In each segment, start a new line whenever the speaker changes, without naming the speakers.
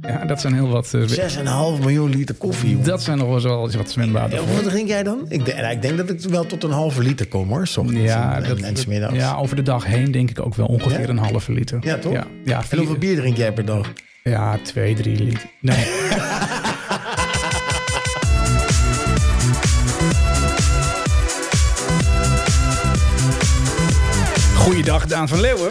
Ja, dat zijn heel wat. eh, we-
6,5 miljoen liter koffie. jongen.
dat zijn nog wel eens wat zwembaden.
Ja,
voor.
Wat drink jij dan? Ik, denk- nou, ik denk dat ik wel tot een halve liter kom hoor. 's ochtends
Ja,
en,
dat,
en, en 's middags.
ja, over de dag heen denk ik ook wel ongeveer
Ja?
een halve liter.
Ja, toch?
Ja, ja,
en
vier-
hoeveel bier drink jij per dag?
ja twee, drie liter. Nee. Goeiedag, Daan van Leeuwen.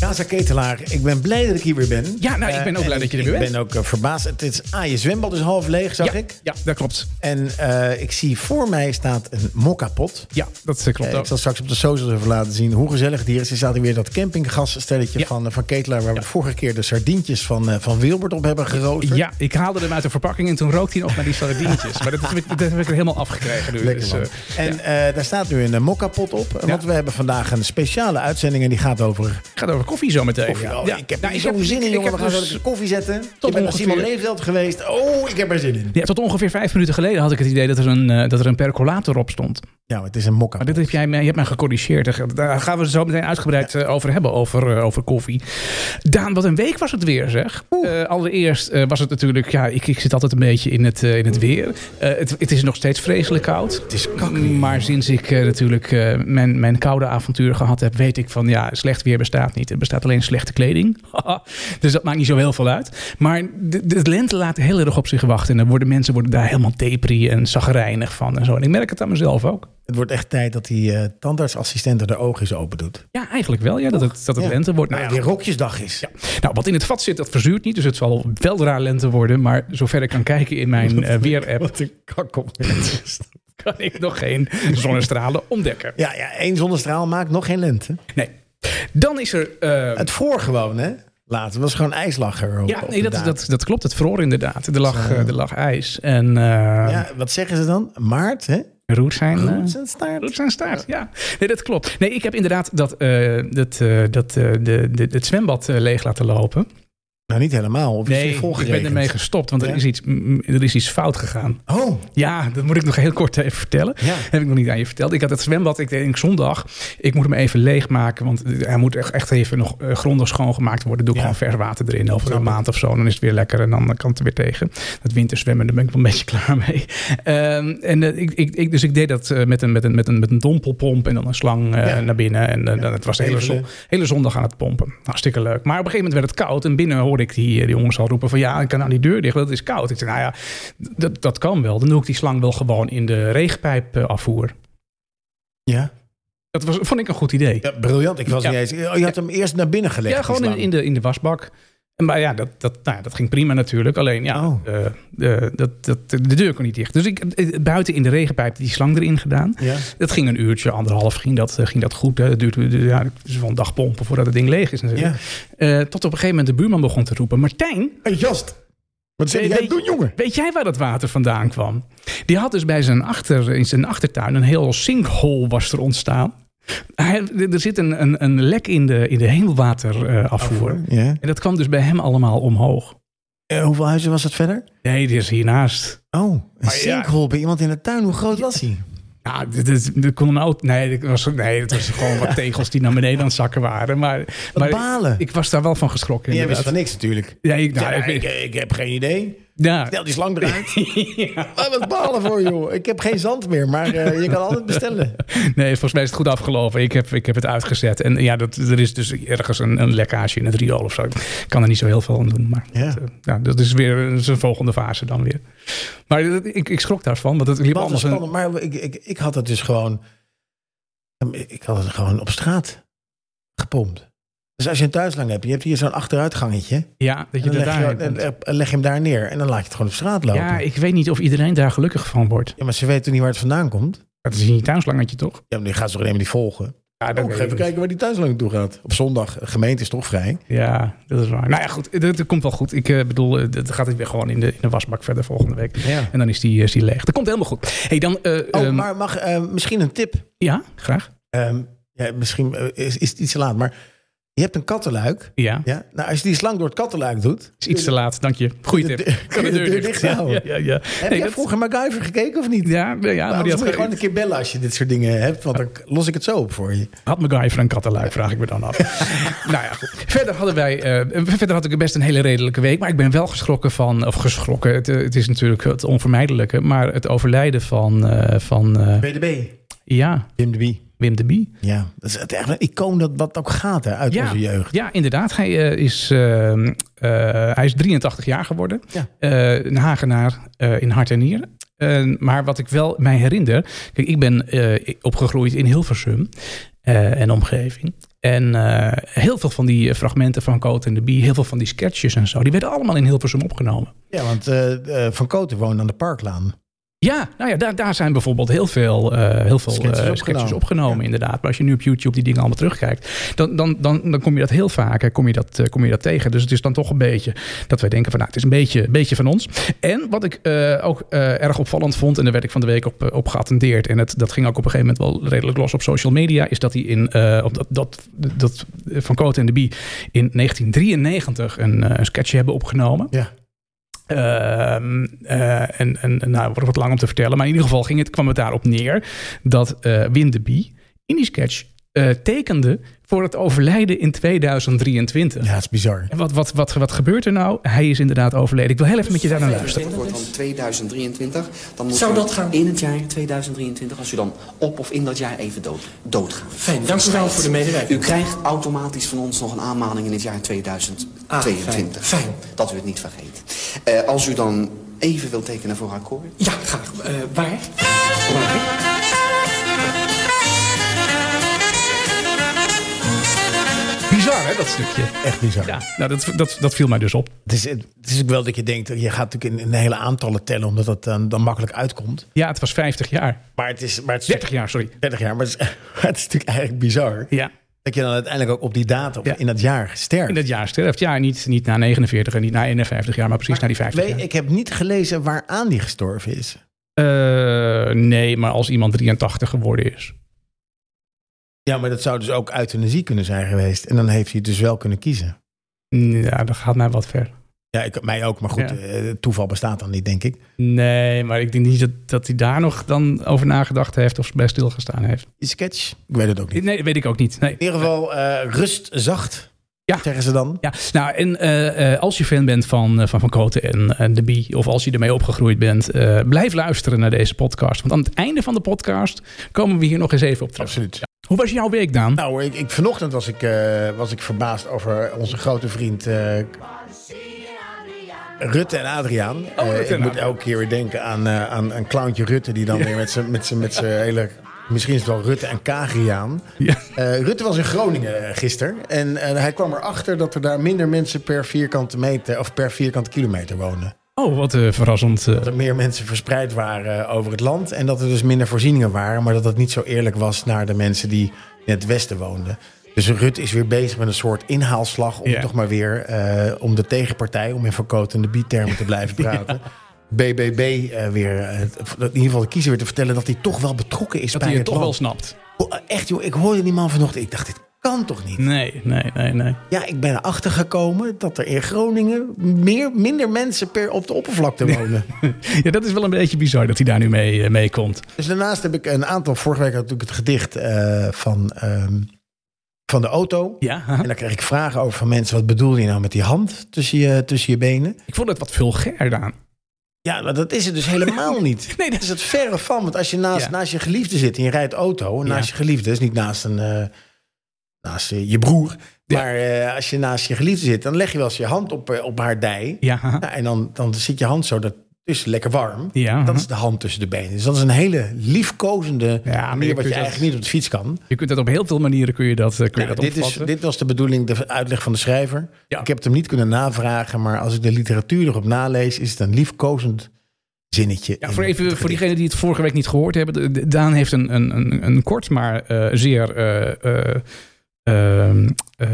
Kaza Ketelaar, ik ben blij dat ik hier weer ben.
Ja, nou, ik ben
Eh,
ook blij
en
dat je er
ik-
weer
Ik
bent.
ben ook eh, verbaasd. Het is, ah, je zwembad is half leeg, zag
ja,
ik.
ja, dat klopt.
En eh, ik zie voor mij staat een mokkapot.
Ja, dat eh, klopt
Eh,
ook.
ik zal straks op de socials even laten zien hoe gezellig het hier is. Er staat hier weer dat campinggasstelletje
Ja.
van, eh, van Ketelaar... waar we de vorige keer de sardientjes van, eh, van Wilbert op hebben geroosterd.
Ja, ik haalde hem uit de verpakking en toen rookte hij nog naar die sardientjes. Maar dat, heb ik- dat heb ik er helemaal afgekregen nu.
Lekker
Dus,
man.
eh,
en eh, daar staat nu een eh, mokkapot op. Want we hebben vandaag een speciale uitzending... en die gaat over
het gaat over koffie zo meteen.
koffie.
ja.
Oh,
Ja.
Ik heb
Nou,
hier zo'n
heb-
zin in,
ik
jongen.
heb
We gaan zo
dus-
lekker koffie zetten. Ik ben naar
ongeveer-
Simon Leefveld geweest. Oh, ik heb er zin in.
ja, tot ongeveer vijf minuten geleden had ik het idee dat er een, eh, dat er een percolator op stond.
Ja, maar het is een mokka.
Maar dit heb jij, mij- je hebt mij gecorrigeerd. Daar gaan we het zo meteen uitgebreid eh, over hebben, over, eh, over koffie. Daan, wat een week was het weer, zeg. Eh, allereerst eh, was het natuurlijk... Ja, ik, ik zit altijd een beetje in het, eh, in het weer. Eh, het, het is nog steeds vreselijk koud.
Het is kak.
Maar sinds ik eh, natuurlijk eh, mijn, mijn koude avontuur gehad heb, weet ik van ja, slecht weer bestaat niet. Er bestaat alleen slechte kleding. dus dat maakt niet zo heel veel uit. Maar de, de lente laat heel erg op zich wachten. En dan worden mensen worden daar helemaal depri en zagrijnig van en zo. En ik merk het aan mezelf ook.
Het wordt echt tijd dat die eh, tandartsassistent er de ogen eens open doet.
Ja, eigenlijk wel. Ja, dat het, dat het
Ja.
lente wordt. Nou,
Nou,
ja,
die rokjesdag is.
nou, wat in het vat zit, dat verzuurt niet. Dus het zal weldra lente worden. Maar zover ik kan kijken in mijn eh, weer-app,
Wat een kak op is.
kan ik nog geen zonnestralen ontdekken.
Ja, ja, één zonnestraal maakt nog geen lente.
Nee. Dan is er... eh,
Het voor gewoon, hè? Later. Het was gewoon ijslager. Op,
Ja,
op
nee,
de
dat,
datum.
dat, dat klopt. Het vroor inderdaad. Er lag, eh, er lag ijs. En eh
Ja, wat zeggen ze dan? Maart, hè?
roet zijn... eh,
Goed, zijn staart.
roet zijn staart, ja. Nee, dat klopt. Nee, ik heb inderdaad dat, eh, dat, eh, dat, eh, de, de, het zwembad eh, leeg laten lopen.
Nou, niet helemaal. Of
Nee,
nee,
ik ben ermee gestopt, want
Ja.
er, is iets, mm, er is iets fout gegaan.
Oh,
Ja, dat moet ik nog heel kort even vertellen.
ja.
Heb ik nog niet aan je verteld. Ik had het zwembad, ik denk zondag. Ik moet hem even leegmaken. Want hij moet echt- echt even nog eh, grondig schoongemaakt worden. Doe ik
Ja.
gewoon vers water erin. Over
Snap
een
ik.
maand of zo. Dan is het weer lekker. En dan kan het er weer tegen. Dat winterzwemmen, daar ben ik wel een beetje klaar mee. Ehm, en, eh, ik, ik, ik, dus ik deed dat eh, met, een, met, een, met, een, met een dompelpomp. En dan een slang eh,
Ja.
naar binnen. En eh, dan- het was de hele,
Even,
zon- hele zondag aan het pompen. Hartstikke leuk. Maar op een gegeven moment werd het koud. En binnen hoorde ik die, eh, die jongens al roepen van... Ja, ik kan aan die deur dicht. want Het is koud. Ik zei, nou ja, dat, dat kan wel. Dan doe ik die slang wel gewoon in de regenpijp eh, afvoer.
Ja.
Dat was, vond ik een goed idee. Ja,
ja, briljant. Ik was
Ja.
niet eens... Oh, je had hem eerst naar binnen gelegd. die
gewoon in,
slang.
in, de, in de wasbak. En, maar ja dat, dat, nou ja, dat ging prima natuurlijk. Alleen ja,
Oh.
eh, eh, dat, dat, de deur kon niet dicht. Dus ik eh, buiten in de regenpijp die slang erin gedaan.
Ja.
Dat ging een uurtje, anderhalf ging dat, eh, ging dat goed. Hè. Het duurt eh, ja, het is wel een dag pompen voordat het ding leeg is natuurlijk.
ja.
Eh, tot op een gegeven moment de buurman begon te roepen. Martijn,
Hey, Jast. Wat zeg
Nee,
jij
nee.
doen, jongen?
Weet jij waar dat water vandaan kwam? Die had dus bij zijn, achter, in zijn achtertuin een heel sinkhole was er ontstaan. Hij- er zit een, een, een lek in de, in de hemelwaterafvoer.
Ja.
en dat kwam dus bij hem allemaal omhoog.
Eh, hoeveel huizen was het verder?
Nee, die is hiernaast.
Oh, een
Maar ja.
sinkhole bij iemand in de tuin. Hoe groot was hij?
Ja, dit, dit, dit kon een auto. Nee, dat was, nee, het was gewoon wat tegels die naar beneden aan het zakken waren. Maar, maar ik,
Balen.
ik was daar wel van geschrokken.
Jij wist
inderdaad.
van niks natuurlijk.
Ja, ik, nou,
Ja,
ik,
ik, ik heb geen idee.
ja.
Stel die slang eruit.
Ja.
Ah, wat balen voor, joh. Ik heb geen zand meer, maar eh, je kan altijd bestellen.
Nee, volgens mij is het goed afgelopen. Ik heb, ik heb het uitgezet. En ja, dat, er is dus ergens een, een lekkage in het riool of zo. Ik kan er niet zo heel veel aan doen. Maar
Ja.
dat, eh, ja, dat is weer zijn volgende fase dan weer. Maar dat- ik, ik schrok daarvan, want het liep
Wat een
anders. Een,
spannend, maar ik, ik, ik had het dus gewoon... Ik had het gewoon op straat gepompt. Dus als je een thuislang hebt, je hebt hier zo'n achteruitgangetje.
ja, dat je
Dan
er
leg, je,
daar.
en- en leg je hem daar neer en dan laat je het gewoon op straat lopen.
Ja,
Ja,
ik weet niet of iedereen daar gelukkig van wordt.
maar ze weten niet waar het vandaan komt.
Dat is niet tuinslangetje, toch?
Ja, maar die gaan ze toch helemaal niet volgen?
Ja,
Dan
weet
even
ik niet.
kijken waar die thuislang naartoe gaat. Op zondag, de gemeente is toch vrij?
Ja, dat is waar. Nou ja, goed. Dat, dat komt wel goed. Ik eh, bedoel, eh, dat gaat weer gewoon in de, in de wasbak verder volgende week.
Ja.
En dan is die, eh, is die leeg. Dat komt helemaal goed. hey, dan... eh,
Oh,
ehm,
maar mag eh, misschien een tip
Ja, graag.
Ehm, ja, misschien eh, is, is het iets te laat, maar Je hebt een kattenluik.
Ja,
Ja? Nou, als je die slang door het kattenluik doet.
is iets te laat. Dank je. Goeie
De-
tip.
de-
Kan
de deur dicht houden.
Ja, ja, ja.
Heb
Nee,
jij
dat-
vroeger MacGyver gekeken of niet?
Ja, ja, ja maar
Nou,
die
anders
had,
moet je gewoon
ge-
een keer bellen als je dit soort dingen hebt. Want dan los ik het zo op voor je.
had MacGyver een kattenluik, vraag ik me dan af. nou ja, goed. Verder, hadden wij, eh, verder had ik best een hele redelijke week. Maar ik ben wel geschrokken van, of geschrokken, het, eh, het is natuurlijk het onvermijdelijke. Maar het overlijden van, eh, van eh,
BDB.
ja,
Jim de Bie.
Wim de Bie.
Ja, dat is het echt een icoon dat wat ook gaat hè, uit
Ja.
onze jeugd.
Ja, inderdaad. Hij, eh, is, eh, eh, hij is 83 jaar geworden.
Ja.
Eh, een Hagenaar eh, in hart en nieren. Eh, maar wat ik wel mij herinner... Kijk, ik ben eh, opgegroeid in Hilversum eh, en omgeving. En eh, heel veel van die eh, fragmenten van Coat en de Bie... heel veel van die sketches en zo... die werden allemaal in Hilversum opgenomen.
Ja, want eh, eh, Van Koten woonde aan de Parklaan.
Ja, nou ja, daar, daar zijn bijvoorbeeld heel veel, eh, heel veel eh,
Sketches
sketches opgenomen,
opgenomen. Ja.
inderdaad. Maar als je nu op YouTube die dingen allemaal terugkijkt, dan, dan, dan, dan kom je dat heel vaak hè, kom je dat, eh, kom je dat tegen. Dus het is dan toch een beetje dat wij denken van nou, het is een beetje, een beetje van ons. En wat ik eh, ook eh, erg opvallend vond, en daar werd ik van de week op, eh, op geattendeerd, en het, dat ging ook op een gegeven moment wel redelijk los op social media, is dat hij in, eh, op dat, dat, dat eh, Van Koot en de Bie in 1993 een eh, sketchje hebben opgenomen.
Ja.
Ehm, eh, en, en en, nou, wordt wat lang om te vertellen. Maar in ieder geval ging het, kwam het daarop neer dat eh Wim de Bie in die sketch eh, tekende voor het overlijden in 2023.
Ja, dat is bizar.
En wat, wat, wat, wat gebeurt er nou? Hij is inderdaad overleden. Ik wil heel even met je daar naar luisteren.
Het wordt dan 2023. Dan moet
Zou
u
dat gaan?
In het jaar 2023, als u dan op of in dat jaar even dood, doodgaat.
Fijn, dank u wel voor de medewerking.
U krijgt automatisch van ons nog een aanmaning in het jaar 2022.
Ah, fijn, fijn.
Dat u het niet vergeet. Eh, als u dan even wilt tekenen voor akkoord.
Ja, graag. Eh, waar?
Bizar, hè, dat stukje.
Echt bizar.
Ja, nou, dat, dat, dat viel mij dus op.
Het, is, het is ook wel dat je denkt, je gaat natuurlijk in, in hele aantallen tellen, omdat dat dan, dan makkelijk uitkomt.
Ja, het was 50 jaar.
Maar het is, maar het is
30 jaar, sorry.
30 jaar, maar het is, maar het is natuurlijk eigenlijk bizar.
Ja,
Dat je dan uiteindelijk ook op die datum
Ja.
in dat jaar sterft.
in dat jaar sterft. Ja, niet, niet na 49 en niet na 51 jaar, maar precies na die 50
Weet-
jaar.
ik heb niet gelezen waaraan die gestorven is.
Eh, nee, maar als iemand 83 geworden is.
Ja, maar dat zou dus ook euthanasie kunnen zijn geweest. En dan heeft hij het dus wel kunnen kiezen.
Ja, dat gaat mij wat ver.
Ja, ik, mij ook, maar goed,
Ja.
eh, toeval bestaat dan niet, denk ik.
Nee, maar ik denk niet dat, dat hij daar nog dan over nagedacht heeft of bij stilgestaan heeft.
Die sketch? Ik weet het ook niet.
Nee, dat weet ik ook niet. Nee.
In ieder geval eh, rust zacht,
Ja.
zeggen ze dan.
Ja, nou, en eh, eh, als je fan bent van eh, Van, van Koten en, en de Bie, of als je ermee opgegroeid bent, eh, blijf luisteren naar deze podcast. Want aan het einde van de podcast komen we hier nog eens even op terug.
Absoluut.
Hoe was jouw week, Daan?
Nou, hoor, ik, ik, vanochtend was ik, eh, was ik verbaasd over onze grote vriend eh, Rutte en Adriaan. Eh,
Oh, Rutte
ik
en
moet
Adriaan.
elke keer weer denken aan, eh, aan een clowntje Rutte die dan weer met zijn met zijn- met zijn hele... Misschien is het wel Rutte en Kagriaan.
Ja.
Eh, Rutte was in Groningen eh, gisteren. En eh, hij kwam erachter dat er daar minder mensen per vierkante meter of per vierkante kilometer wonen.
Oh, wat eh, verrassend. eh.
Dat er meer mensen verspreid waren eh, over het land. En dat er dus minder voorzieningen waren. Maar dat dat niet zo eerlijk was naar de mensen die in het westen woonden. Dus Rut is weer bezig met een soort inhaalslag. Om
Ja.
toch maar weer eh, om de tegenpartij, om in verkotende biertermen te blijven praten. BBB eh, weer, eh, in ieder geval de kiezer weer te vertellen dat hij toch wel betrokken is
dat
bij
hij het
het
toch wel
land.
snapt.
Oh, Echt joh, ik hoorde die man vanochtend. Ik dacht, dit kan toch niet?
Nee, nee, nee, nee.
Ja, ik ben erachter gekomen dat er in Groningen meer, minder mensen per op de oppervlakte wonen.
ja, dat is wel een beetje bizar dat hij daar nu mee, eh, mee komt.
Dus daarnaast heb ik een aantal. Vorige week had ik natuurlijk het gedicht eh, van, ehm, van de auto.
Ja,
En daar kreeg ik vragen over van mensen. Wat bedoel je nou met die hand tussen je, tussen je benen?
ik vond het wat vulgair, Daan.
Ja, maar dat is het dus helemaal niet.
Nee, dat-
dat is het verre van. Want als je naast,
Ja.
naast je geliefde zit en je rijdt auto. En
Ja.
naast je geliefde, dus niet naast, een, eh, naast eh, je broer.
Ja.
Maar eh, als je naast je geliefde zit, dan leg je wel eens je hand op, eh, op haar dij.
Ja, haha.
Nou, en dan, dan zit je hand zo daartussen, lekker warm.
ja.
Dat
haha.
is de hand tussen de benen. Dus dat is een hele liefkozende
Ja, maar je
manier
kunt
wat je
dat-
eigenlijk niet op de fiets kan.
Je kunt dat op heel veel manieren kun je dat, eh, kun je
Ja,
dat
dit, is,
opvatten.
dit was de bedoeling, de uitleg van de schrijver.
Ja.
Ik heb het hem niet kunnen navragen, maar als ik de literatuur erop nalees, is het een liefkozend zinnetje.
Ja,
in
voor, even,
het
voor
gedicht.
diegenen die het vorige week niet gehoord hebben. de- de- Daan heeft een, een, een, een kort, maar eh, zeer eh, eh, ehm, eh,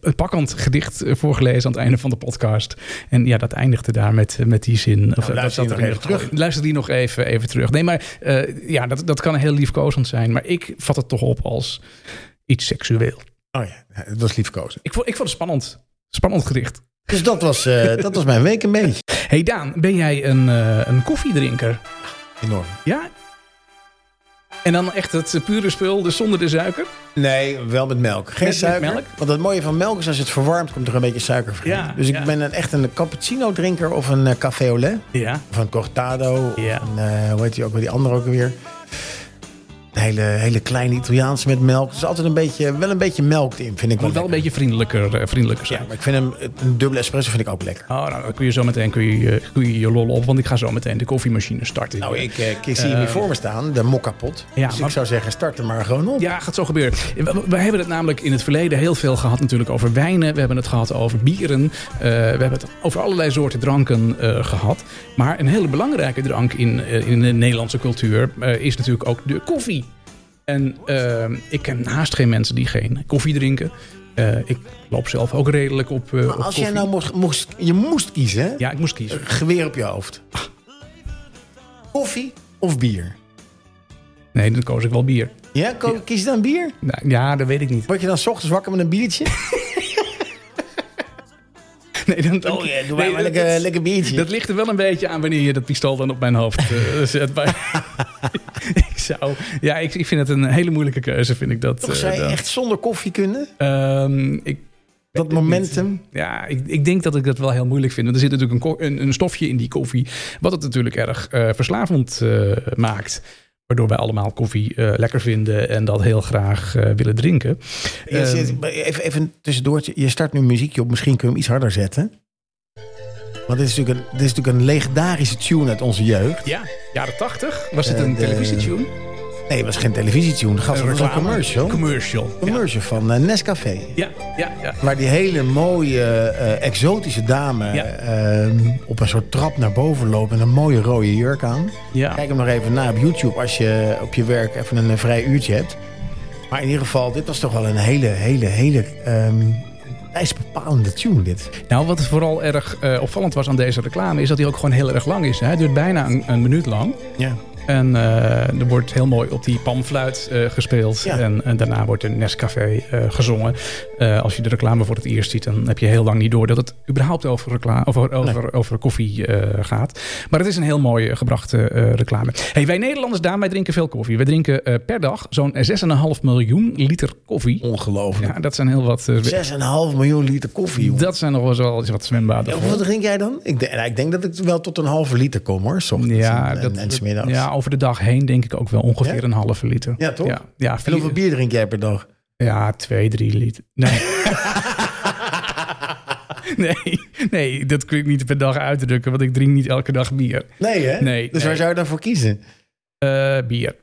een pakkend gedicht eh, voorgelezen aan het einde van de podcast. En ja, dat eindigde daar met, eh, met die zin. Of, eh, dat
Nou, luister
zat
die
er
nog
in ieder
even
geval
terug.
in. Luister die nog even, even terug. Nee, maar eh, ja, dat, dat kan heel liefkozend zijn. Maar ik vat het toch op als iets seksueel.
Oh ja, het was liefkozen.
Ik vond, ik vond het spannend. Spannend gedicht.
Dus dat was, eh, dat was mijn week een beetje.
hey Daan, ben jij een, eh, een koffiedrinker?
Enorm.
Ja. En dan echt het pure spul, dus zonder de suiker?
Nee, wel met melk. Geen
met
suiker.
melk?
Want het mooie van melk is als je het verwarmt, komt er een beetje suiker vrij.
Ja,
dus ik
ja.
ben een, echt een cappuccino drinker of een eh, café au lait.
Ja.
Of een cortado.
Ja.
Of een, eh, hoe heet die ook weer, die andere ook weer. Een hele, hele kleine Italiaans met melk. Er is altijd een beetje, wel een beetje melk in, vind ik wel
Moet wel een
lekker.
beetje vriendelijker, eh, vriendelijker
Ja,
zijn.
maar ik vind hem, een dubbele espresso vind ik ook lekker.
Oh, nou, dan kun je zo meteen kun je, je- kun je je lol op, want ik ga zo meteen de koffiemachine starten.
Nou, ik, eh, ik zie hem hier voor me staan, de mokkapot.
Ja,
dus
maar-
ik zou zeggen, start er maar gewoon op.
Ja, gaat zo gebeuren. We, we hebben het namelijk in het verleden heel veel gehad natuurlijk over wijnen. We hebben het gehad over bieren. eh, we hebben het over allerlei soorten dranken eh, gehad. Maar een hele belangrijke drank in, eh, in de Nederlandse cultuur eh, is natuurlijk ook de koffie. En eh, ik ken haast geen mensen die geen koffie drinken. Eh, ik loop zelf ook redelijk op, eh,
maar
op
als
koffie.
jij nou mocht, moest, je moest kiezen, hè?
Ja, ik moest kiezen.
geweer op je hoofd. Koffie of bier?
Nee, dan koos ik wel bier.
Ja, ko- kies je dan bier?
Nou, ja, dat weet ik niet.
Word je dan 's ochtends wakker met een biertje?
Nee, dan,
Oh ja, doe maar
Nee,
maar
dat-
lekker, lekker biertje.
Dat ligt er wel een beetje aan wanneer je dat pistool dan op mijn hoofd eh, zet. Maar ik zou. Ja, ik, ik vind het een hele moeilijke keuze, vind ik dat.
Toch
eh,
zou je
dan.
echt zonder koffie kunnen?
Ehm, ik,
Dat momentum.
ja, ik, ik denk dat ik dat wel heel moeilijk vind. Want er zit natuurlijk een, ko- een, een stofje in die koffie. Wat het natuurlijk erg eh, verslavend eh, maakt. Waardoor wij allemaal koffie eh, lekker vinden en dat heel graag eh, willen drinken. Ehm,
Je zit- even, even tussendoor, je start nu muziekje op. Misschien kun je hem iets harder zetten. Want dit is natuurlijk een, dit is natuurlijk een legendarische tune uit onze jeugd.
Ja, jaren tachtig was het
Eh,
een
de-
televisietune.
Nee, het was geen televisietune. Gast, het was een
reclame.
commercial.
Commercial. Ja,
commercial van eh, Nescafé.
ja, ja. ja.
Waar die hele mooie, eh, exotische dame
Ja.
eh, op een soort trap naar boven loopt met een mooie rode jurk aan.
Ja.
Kijk hem nog even na op YouTube als je op je werk even een eh, vrij uurtje hebt. Maar in ieder geval, dit was toch wel een hele, hele, hele ehm tijdsbepalende tune dit.
Nou, wat vooral erg eh, opvallend was aan deze reclame... is dat hij ook gewoon heel erg lang is. Hij duurt bijna een, een minuut lang.
Ja.
En eh, er wordt heel mooi op die pamfluit eh, gespeeld.
Ja.
En, en daarna wordt een Nescafé eh, gezongen. Eh, als je de reclame voor het eerst ziet... dan heb je heel lang niet door dat het überhaupt over, reclame, over, over, over koffie eh, gaat. Maar het is een heel mooi eh, gebrachte eh, reclame. Hey, wij Nederlanders, Daan, wij drinken veel koffie. Wij drinken eh, per dag zo'n 6,5 miljoen liter
Oh.
koffie.
Ongelooflijk.
Ja, dat zijn heel wat... eh,
6,5 miljoen liter koffie, joh.
dat zijn nog wel eens wat zwembaden.
Ja, Hoeveel drink jij dan? Ik, denk- nou, ik denk dat ik wel tot een halve liter kom hoor. 's ochtends en, en, en 's middags.
ja, over de dag heen denk ik ook wel ongeveer
Ja?
een halve liter.
Ja, toch?
Ja, ja,
En
vier-
hoeveel bier drink jij per dag?
ja twee, drie liter. Nee. nee, nee, dat kun ik niet per dag uitdrukken, want ik drink niet elke dag bier.
Nee, hè?
Nee,
dus waar
nee.
zou je dan voor kiezen?
Eh, bier.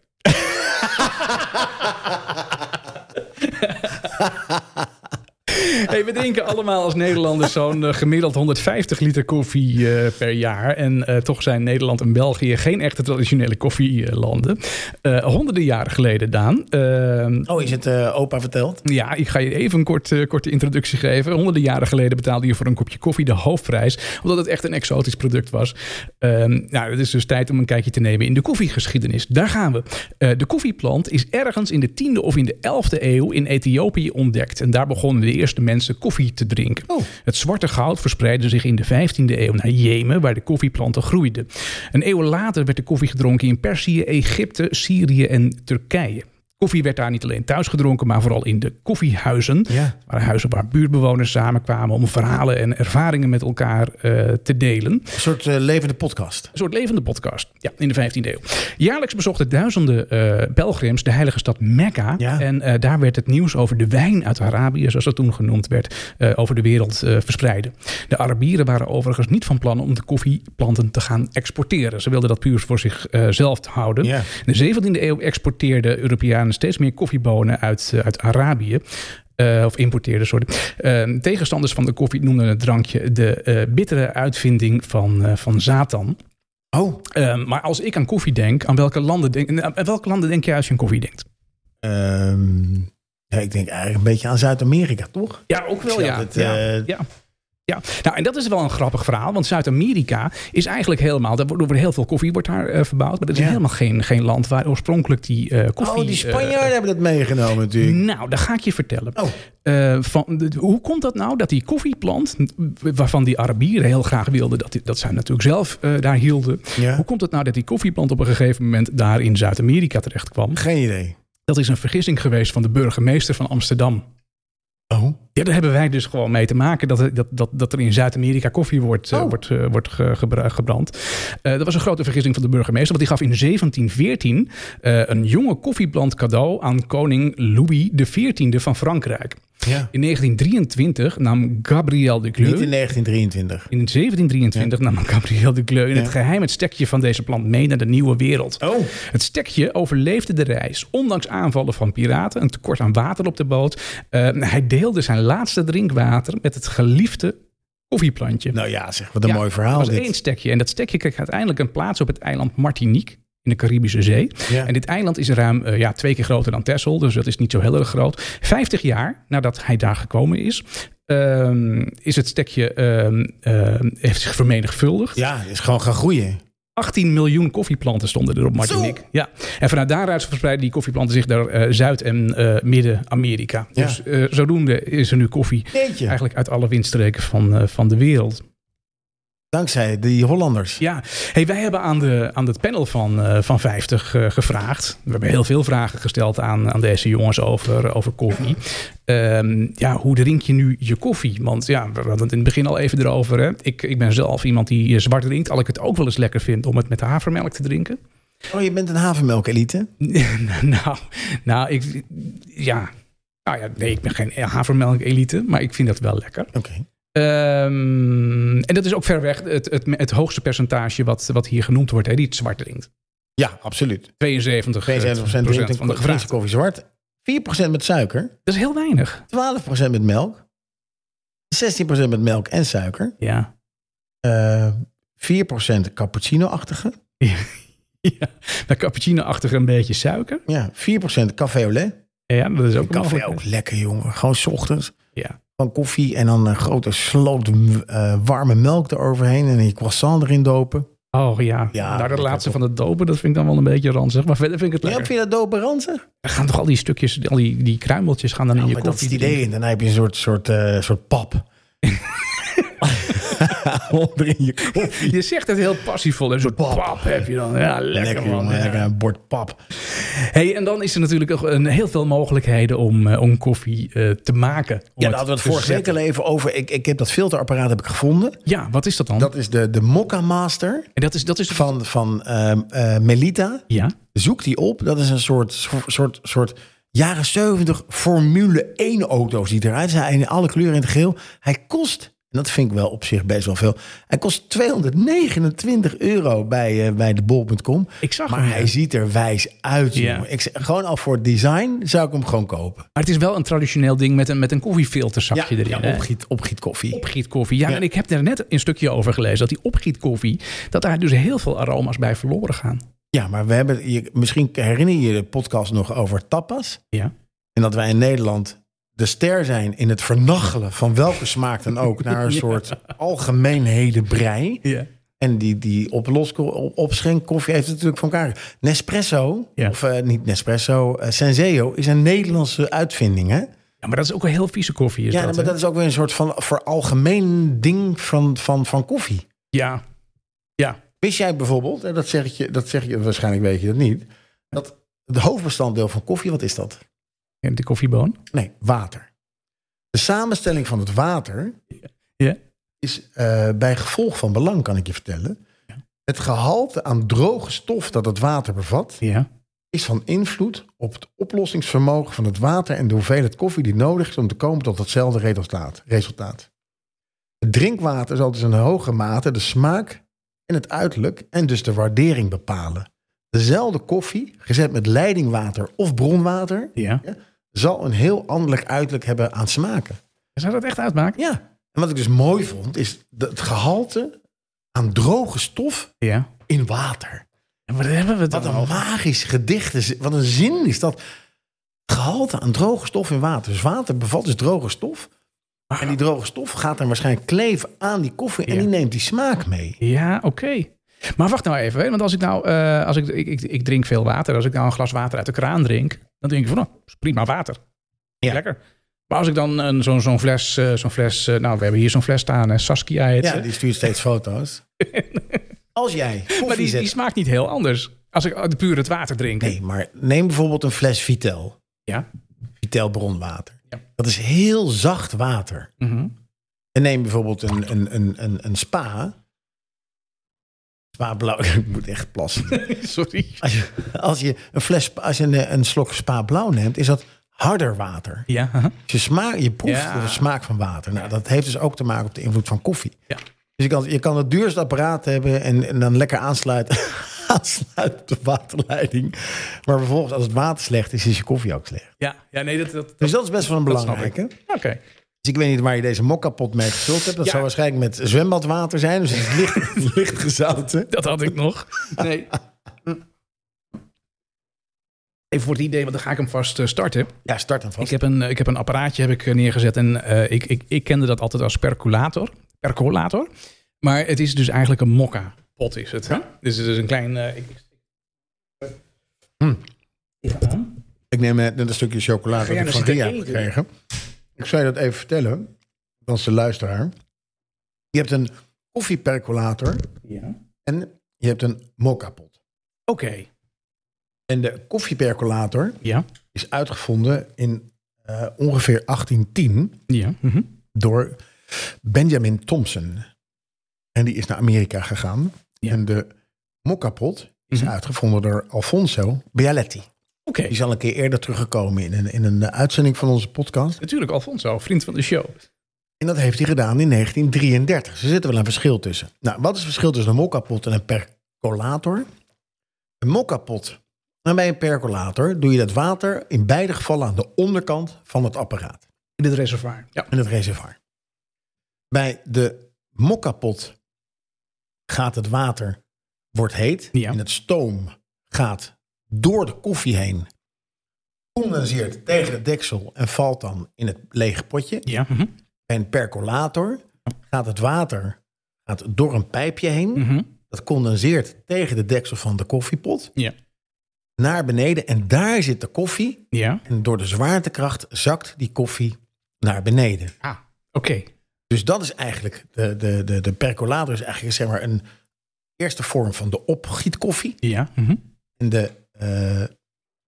Hey, we drinken allemaal als Nederlanders zo'n eh, gemiddeld 150 liter koffie eh, per jaar. En eh, toch zijn Nederland en België geen echte traditionele koffielanden. Eh, honderden jaren geleden, Daan. eh,
Oh, is het eh, opa verteld?
Ja, ik ga je even een kort, eh, korte introductie geven. Honderden jaren geleden betaalde je voor een kopje koffie de hoofdprijs, omdat het echt een exotisch product was. Ehm, nou, het is dus tijd om een kijkje te nemen in de koffiegeschiedenis. Daar gaan we. Eh, de koffieplant is ergens in de 10e of in de 11e eeuw in Ethiopië ontdekt. En daar begonnen de eerste mensen koffie te drinken.
Oh.
Het zwarte goud verspreidde zich in de 15e eeuw naar Jemen, waar de koffieplanten groeiden. Een eeuw later werd de koffie gedronken in Perzië, Egypte, Syrië en Turkije. Koffie werd daar niet alleen thuis gedronken, maar vooral in de koffiehuizen.
Ja.
Het waren huizen waar buurtbewoners samenkwamen om verhalen en ervaringen met elkaar eh, te delen.
Een soort eh, levende podcast.
Een soort levende podcast. Ja, in de 15e eeuw. Jaarlijks bezochten duizenden eh pelgrims de heilige stad Mekka.
Ja.
En eh, daar werd het nieuws over de wijn uit Arabië, zoals dat toen genoemd werd, eh, over de wereld eh, verspreiden. De Arabieren waren overigens niet van plan om de koffieplanten te gaan exporteren. Ze wilden dat puur voor zichzelf houden.
Ja.
In de 17e eeuw exporteerden Europeanen steeds meer koffiebonen uit, eh, uit Arabië. Eh, of importeerden, sorry. Eh, tegenstanders van de koffie noemden het drankje de eh, bittere uitvinding van, eh, van Satan.
Oh,
Ehm, maar als ik aan koffie denk, aan welke landen denk, aan welke landen denk jij als je aan koffie denkt?
ehm, ja, ik denk eigenlijk een beetje aan Zuid-Amerika, toch?
Ja, ook wel,
Ik
ja.
snap het,
ja,
eh,
ja. Ja, nou en dat is wel een grappig verhaal, want Zuid-Amerika is eigenlijk helemaal, daar wordt, er wordt heel veel koffie wordt daar eh, verbouwd, maar dat is
Ja.
helemaal geen, geen land waar oorspronkelijk die eh, koffie...
oh, die
eh,
Spanjaarden hebben dat meegenomen natuurlijk.
nou, dat ga ik je vertellen.
Oh.
Eh, van de- hoe komt dat nou dat die koffieplant, waarvan die Arabieren heel graag wilden, dat, die- dat zij natuurlijk zelf eh, daar hielden.
Ja.
Hoe komt het nou dat die koffieplant op een gegeven moment daar in Zuid-Amerika terecht kwam?
Geen idee.
Dat is een vergissing geweest van de burgemeester van Amsterdam.
Oh.
Ja, daar hebben wij dus gewoon mee te maken dat, dat, dat, dat er in Zuid-Amerika koffie wordt, eh,
Oh.
wordt, eh, wordt ge- gebra- gebrand. Eh, dat was een grote vergissing van de burgemeester, want die gaf in 1714 eh, een jonge koffieplant cadeau aan koning Louis XIV van Frankrijk.
Ja.
In 1923 nam Gabriel de Gleu.
Niet in 1923.
In 1723 nam Gabriel de Gleu in het geheim het stekje van deze plant mee naar de nieuwe wereld.
Oh.
Het stekje overleefde de reis, ondanks aanvallen van piraten, een tekort aan water op de boot. Eh, hij deelde zijn laatste drinkwater met het geliefde koffieplantje.
Nou ja, zeg, wat een
Ja,
mooi
Er
verhaal
was
dit.
één stekje en dat stekje kreeg uiteindelijk een plaats op het eiland Martinique. In de Caribische Zee.
Ja.
En dit eiland is ruim eh, ja, twee keer groter dan Texel, dus dat is niet zo heel erg groot. Vijftig jaar nadat hij daar gekomen is, ehm, is het stekje ehm, ehm, heeft zich vermenigvuldigd.
Ja, het is gewoon gaan groeien.
18 miljoen koffieplanten stonden er op Martinique. Ja. En vanuit daaruit verspreiden die koffieplanten zich naar eh, Zuid- en eh, Midden-Amerika.
Ja.
Dus eh, zodoende is er nu koffie
Jeetje,
eigenlijk uit alle windstreken van, eh, van de wereld.
dankzij die Hollanders.
Ja, hey, wij hebben aan, de, aan het panel van, eh, van 50 eh, gevraagd. We hebben heel veel vragen gesteld aan, aan deze jongens over, over koffie. Ehm, ja, hoe drink je nu je koffie? Want ja, we hadden het in het begin al even erover. Hè. Ik, ik ben zelf iemand die eh, zwart drinkt. Al ik het ook wel eens lekker vind om het met havermelk te drinken.
Oh, je bent een havenmelk-elite?
nou, nou, ik, ja. Nou ja, nee, ik ben geen havermelk-elite, maar ik vind dat wel lekker.
Oké.
Ehm, en dat is ook ver weg het, het, het hoogste percentage wat, wat hier genoemd wordt, hè, die het zwart drinkt.
Ja, absoluut.
72,
72% drinkt
van
een
de
Griekse
gevraagd.
koffie zwart. 4% met suiker.
Dat is heel weinig.
12% met melk. 16% met melk en suiker.
Ja.
Eh 4% cappuccino-achtige.
ja. Nou, cappuccino-achtig een beetje suiker.
Ja, 4% café au lait.
Ja, dat is ook een
Café ook
mogelijkheid.
lekker, jongen. Gewoon 's ochtends.
Ja.
Van koffie en dan een grote sloot eh, warme melk eroverheen. En een croissant erin dopen.
Oh ja.
Ja,
nou, de
lekker
laatste
toch.
van het dopen, dat vind ik dan wel een beetje ranzig. Maar verder vind ik het
Ja,
lekker.
vind je dat dopen ranzig?
Er gaan toch al die stukjes, al die, die kruimeltjes gaan dan in
Ja,
je
maar
koffie.
dat is het idee. En dan heb je een soort, soort, eh, soort pap. Onder in je koffie.
Je zegt het heel passievol. Een soort
Pap.
pap heb je dan. Ja, lekker,
Lekker,
man.
jongen.
Ja.
Lekker een bord pap.
Hey, en dan is er natuurlijk nog een heel veel mogelijkheden om, eh, om koffie eh, te maken. Om
Ja,
het
daar hadden we
te
het vorige week
zetten.
al even over. Ik, ik heb dat filterapparaat heb ik gevonden.
Ja, wat is dat dan?
Dat is de, de Mokka Master
en dat is, dat is
van, van ehm, eh, Melita.
Ja.
Zoek die op. Dat is een soort, soort, soort jaren 70 Formule 1 auto's die eruit zijn. In alle kleuren in het geel. Hij kost, en dat vind ik wel op zich best wel veel. Hij kost 229 euro bij, eh, bij de bol.com.
Ik zag
Maar
hem,
hij
ja.
ziet er wijs uit.
Ja.
jongen. Ik, zeg, gewoon al voor het design zou ik hem gewoon kopen.
Maar het is wel een traditioneel ding met een, met een koffiefilterzakje
ja,
erin.
ja,
hè?
opgiet, opgiet koffie.
Opgietkoffie. Ja,
Ja.
en ik heb daar net een stukje over gelezen. Dat die opgietkoffie, dat daar dus heel veel aroma's bij verloren gaan.
Ja, maar we hebben, je, misschien herinner je je de podcast nog over tapas.
Ja.
En dat wij in Nederland de ster zijn in het vernachelen van welke smaak dan ook naar een soort algemeenheden brei.
Ja.
En die, die op los, op, opschenk koffie heeft het natuurlijk van elkaar. Nespresso,
Ja.
of eh, niet Nespresso, eh, Senseo is een Nederlandse uitvinding. Hè?
ja, maar dat is ook een heel vieze koffie. Is
Ja,
dat,
maar
hè?
dat is ook weer een soort van veralgemeen ding van, van, van koffie.
Ja. Ja.
Wist jij bijvoorbeeld, en dat zeg ik je, dat zeg je waarschijnlijk weet je dat niet, dat het hoofdbestanddeel van koffie, wat is dat?
En de koffieboon.
Nee, water. De samenstelling van het water
Ja.
is eh, bij gevolg van belang, kan ik je vertellen. Het gehalte aan droge stof dat het water bevat,
Ja.
is van invloed op het oplossingsvermogen van het water en de hoeveelheid koffie die nodig is om te komen tot hetzelfde resultaat. resultaat. Het drinkwater zal dus in hoge mate de smaak en het uiterlijk en dus de waardering bepalen. Dezelfde koffie, gezet met leidingwater of bronwater,
Ja.
zal een heel ander uiterlijk hebben aan smaken.
Zou dat echt uitmaken?
Ja. En wat ik dus mooi vond, is de- het gehalte aan droge stof
Ja.
in water.
En wat hebben we het
Wat
dan
een
over?
magisch gedicht. is- Wat een zin is dat. Gehalte aan droge stof in water. Dus water bevat dus droge stof. En die droge stof gaat dan waarschijnlijk kleven aan die koffie en
Ah. Ja.
die neemt die smaak mee.
Ja, oké. Maar wacht nou even, hè, want als ik nou, eh, als ik, ik, ik, ik drink veel water, als ik nou een glas water uit de kraan drink, dan denk ik van, oh, is prima water.
Ja.
Lekker. Maar als ik dan een- zo'n zo'n fles, eh, zo'n fles eh, nou, we hebben hier zo'n fles staan, hè, Saskia heet
Ja,
ze.
die stuurt steeds foto's. Als jij koffie
maar die,
zet...
die smaakt niet heel anders als ik eh, puur het water drink.
Nee, maar neem bijvoorbeeld een fles Vitel.
Ja.
Vitel bronwater.
Ja.
Dat is heel zacht water.
Mhm.
En neem bijvoorbeeld een, een, een, een, een spa. Spa blauw. Ik moet echt plassen.
Sorry.
Als je, als je, een, fles, spa- als je een, een slok spa blauw neemt, is dat harder water.
Ja, haha.
Dus je, smaak, je proeft
Ja.
de smaak van water. Nou, dat heeft dus ook te maken op de invloed van koffie.
Ja.
Dus je kan, je kan het duurste apparaat hebben en, en dan lekker aansluiten, aansluiten op de waterleiding. Maar vervolgens, als het water slecht is, is je koffie ook slecht.
ja, ja, nee, dat... dat
Dus dat is best wel een
Dat snap
belangrijke.
oké.
Dus ik weet niet waar je deze mokkapot mee gevuld hebt. Dat
Ja.
zou waarschijnlijk met zwembadwater zijn. Dus het is licht, licht gezouten.
Dat had ik nog. Nee. Even voor het idee, want dan ga ik hem vast eh, starten.
Ja, start dan
Ik
vast.
heb een, ik heb een apparaatje heb ik eh, neergezet en eh, ik, ik, ik kende dat altijd als percolator. percolator. Maar het is dus eigenlijk een mokka pot is het. Hè? Dus het is een klein... eh, ik,
Hm.
Ja.
Ik neem net een stukje chocolade
Ga
dat
jij
ik van
nou
Ria
zitten
heb
eten?
gekregen. Ik zou je dat even vertellen, als de luisteraar. Je hebt een koffiepercolator
Ja.
en je hebt een mokkapot.
Oké.
En de koffiepercolator
Ja.
is uitgevonden in eh, ongeveer 1810
Ja. Mhm.
door Benjamin Thompson. En die is naar Amerika gegaan.
Ja.
En de mokkapot is
Mhm.
uitgevonden door Alfonso Bialetti.
Oké.
Die is al een keer eerder teruggekomen in een, in een eh, uitzending van onze podcast.
Natuurlijk, Alfonso, vriend van de show.
En dat heeft hij gedaan in 1933. Dus er zit wel een verschil tussen. Nou, wat is het verschil tussen een mokkapot en een percolator? Een mokkapot. En bij een percolator doe je dat water in beide gevallen aan de onderkant van het apparaat.
In het reservoir. Ja.
En het reservoir. Bij de mokkapot gaat het water, wordt heet.
Ja.
En het stoom gaat door de koffie heen. Condenseert tegen het deksel en valt dan in het lege potje.
Ja. Mhm.
Bij een percolator gaat het water gaat door een pijpje heen.
Mhm.
Dat condenseert tegen de deksel van de koffiepot
Ja.
naar beneden. En daar zit de koffie.
Ja.
En door de zwaartekracht zakt die koffie naar beneden.
Ah, oké.
Dus dat is eigenlijk, de, de, de, de percolator is eigenlijk zeg maar een eerste vorm van de opgietkoffie.
Ja. Mhm.
En de, eh,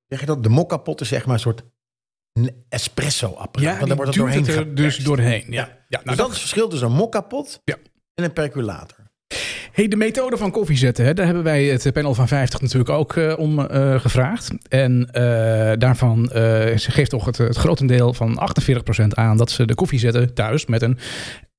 zeg je dat, de mokkapot is zeg maar een soort n- espresso-apparaat.
Ja,
Want
die
daar wordt het
duwt
doorheen
het er dus
geperst.
doorheen. Ja.
Ja.
Ja. nou,
dus dat is het verschil tussen een mokkapot
Ja.
en een percolator.
Hey, de methode van koffie zetten, hè, daar hebben wij het panel van 50 natuurlijk ook eh, om eh, gevraagd. En eh, daarvan eh, ze geeft toch het, het grotendeel van 48% aan dat ze de koffie zetten thuis met een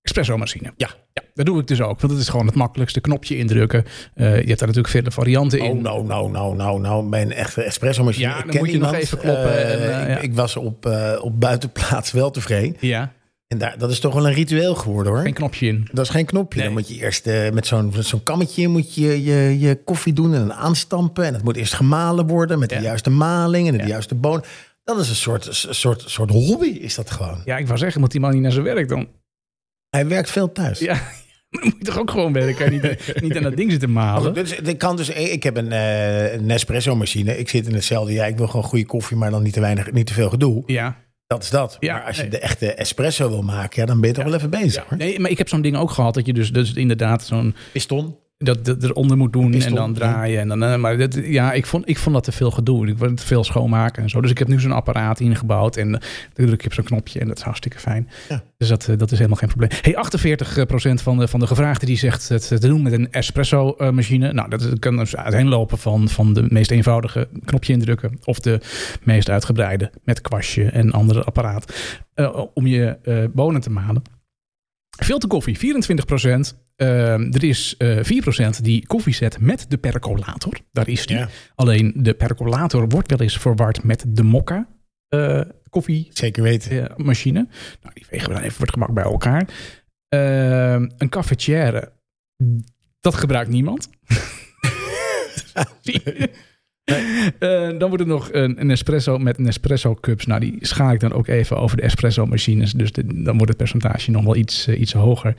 espresso-machine. Ja. ja, dat doe ik dus ook, want het is gewoon het makkelijkste knopje indrukken. Eh, je hebt daar natuurlijk vele varianten
Oh,
in.
nou, nou, nou, nou, nou, mijn echte espresso-machine.
Ja,
Ik
dan
ken
moet je nog
iemand.
even kloppen
Eh,
en, eh,
ik,
ja.
ik was op, eh, op buitenplaats wel tevreden.
Ja,
En daar, dat is toch wel een ritueel geworden, hoor.
geen knopje in.
Dat is geen knopje.
Nee.
Dan moet je eerst eh, met zo'n met zo'n kammetje moet je, je je koffie doen en dan aanstampen. En het moet eerst gemalen worden met
Ja.
de juiste maling en de
Ja.
juiste boon. Dat is een soort, een soort, soort hobby, is dat gewoon.
Ja, ik wou zeggen, moet die man niet naar zijn werk dan?
Hij werkt veel thuis.
Ja, maar dan moet je toch ook gewoon werken? Niet, niet aan Oh, dat ding zitten
Maar
malen.
goed, dus, ik, kan dus, ik heb een, eh, een Nespresso-machine. Ik zit in hetzelfde. Ja, ik wil gewoon goede koffie, maar dan niet te, weinig, niet te veel gedoe.
Ja,
Dat is dat.
Ja,
maar als je
nee.
de echte espresso wil maken, ja, dan ben je toch wel even bezig. hoor.
nee, maar ik heb zo'n ding ook gehad dat je dus, dus inderdaad zo'n
Piston.
dat, dat eronder moet doen
Piston,
en dan
ja.
draaien. En dan, eh, maar dat, ja, ik vond, ik vond dat te veel gedoe. Ik wilde te veel schoonmaken en zo. Dus ik heb nu zo'n apparaat ingebouwd en eh, dan druk je op zo'n knopje en dat is hartstikke fijn.
Ja.
Dus dat, eh, dat is helemaal geen probleem. Hey, 48% van de, van de gevraagden die zegt het te doen met een espresso-machine. nou, dat kan dus uiteenlopen van, van de meest eenvoudige knopje indrukken of de meest uitgebreide met kwastje en andere apparaat eh, om je eh, bonen te malen. Filter koffie, 24 Ehm, er is eh 4% die koffie zet met de percolator. Daar is die.
Ja.
Alleen de percolator wordt wel eens verward met de mokka eh, koffiemachine.
Zeker weten.
nou, die wegen we dan even voor het gemak bij elkaar. Ehm, een cafetière. Dat gebruikt niemand. Eh, dan wordt er nog een, een espresso met Nespresso cups. Nou, die schaal ik dan ook even over de espresso machines. Dus de- dan wordt het percentage nog wel iets, eh, iets hoger.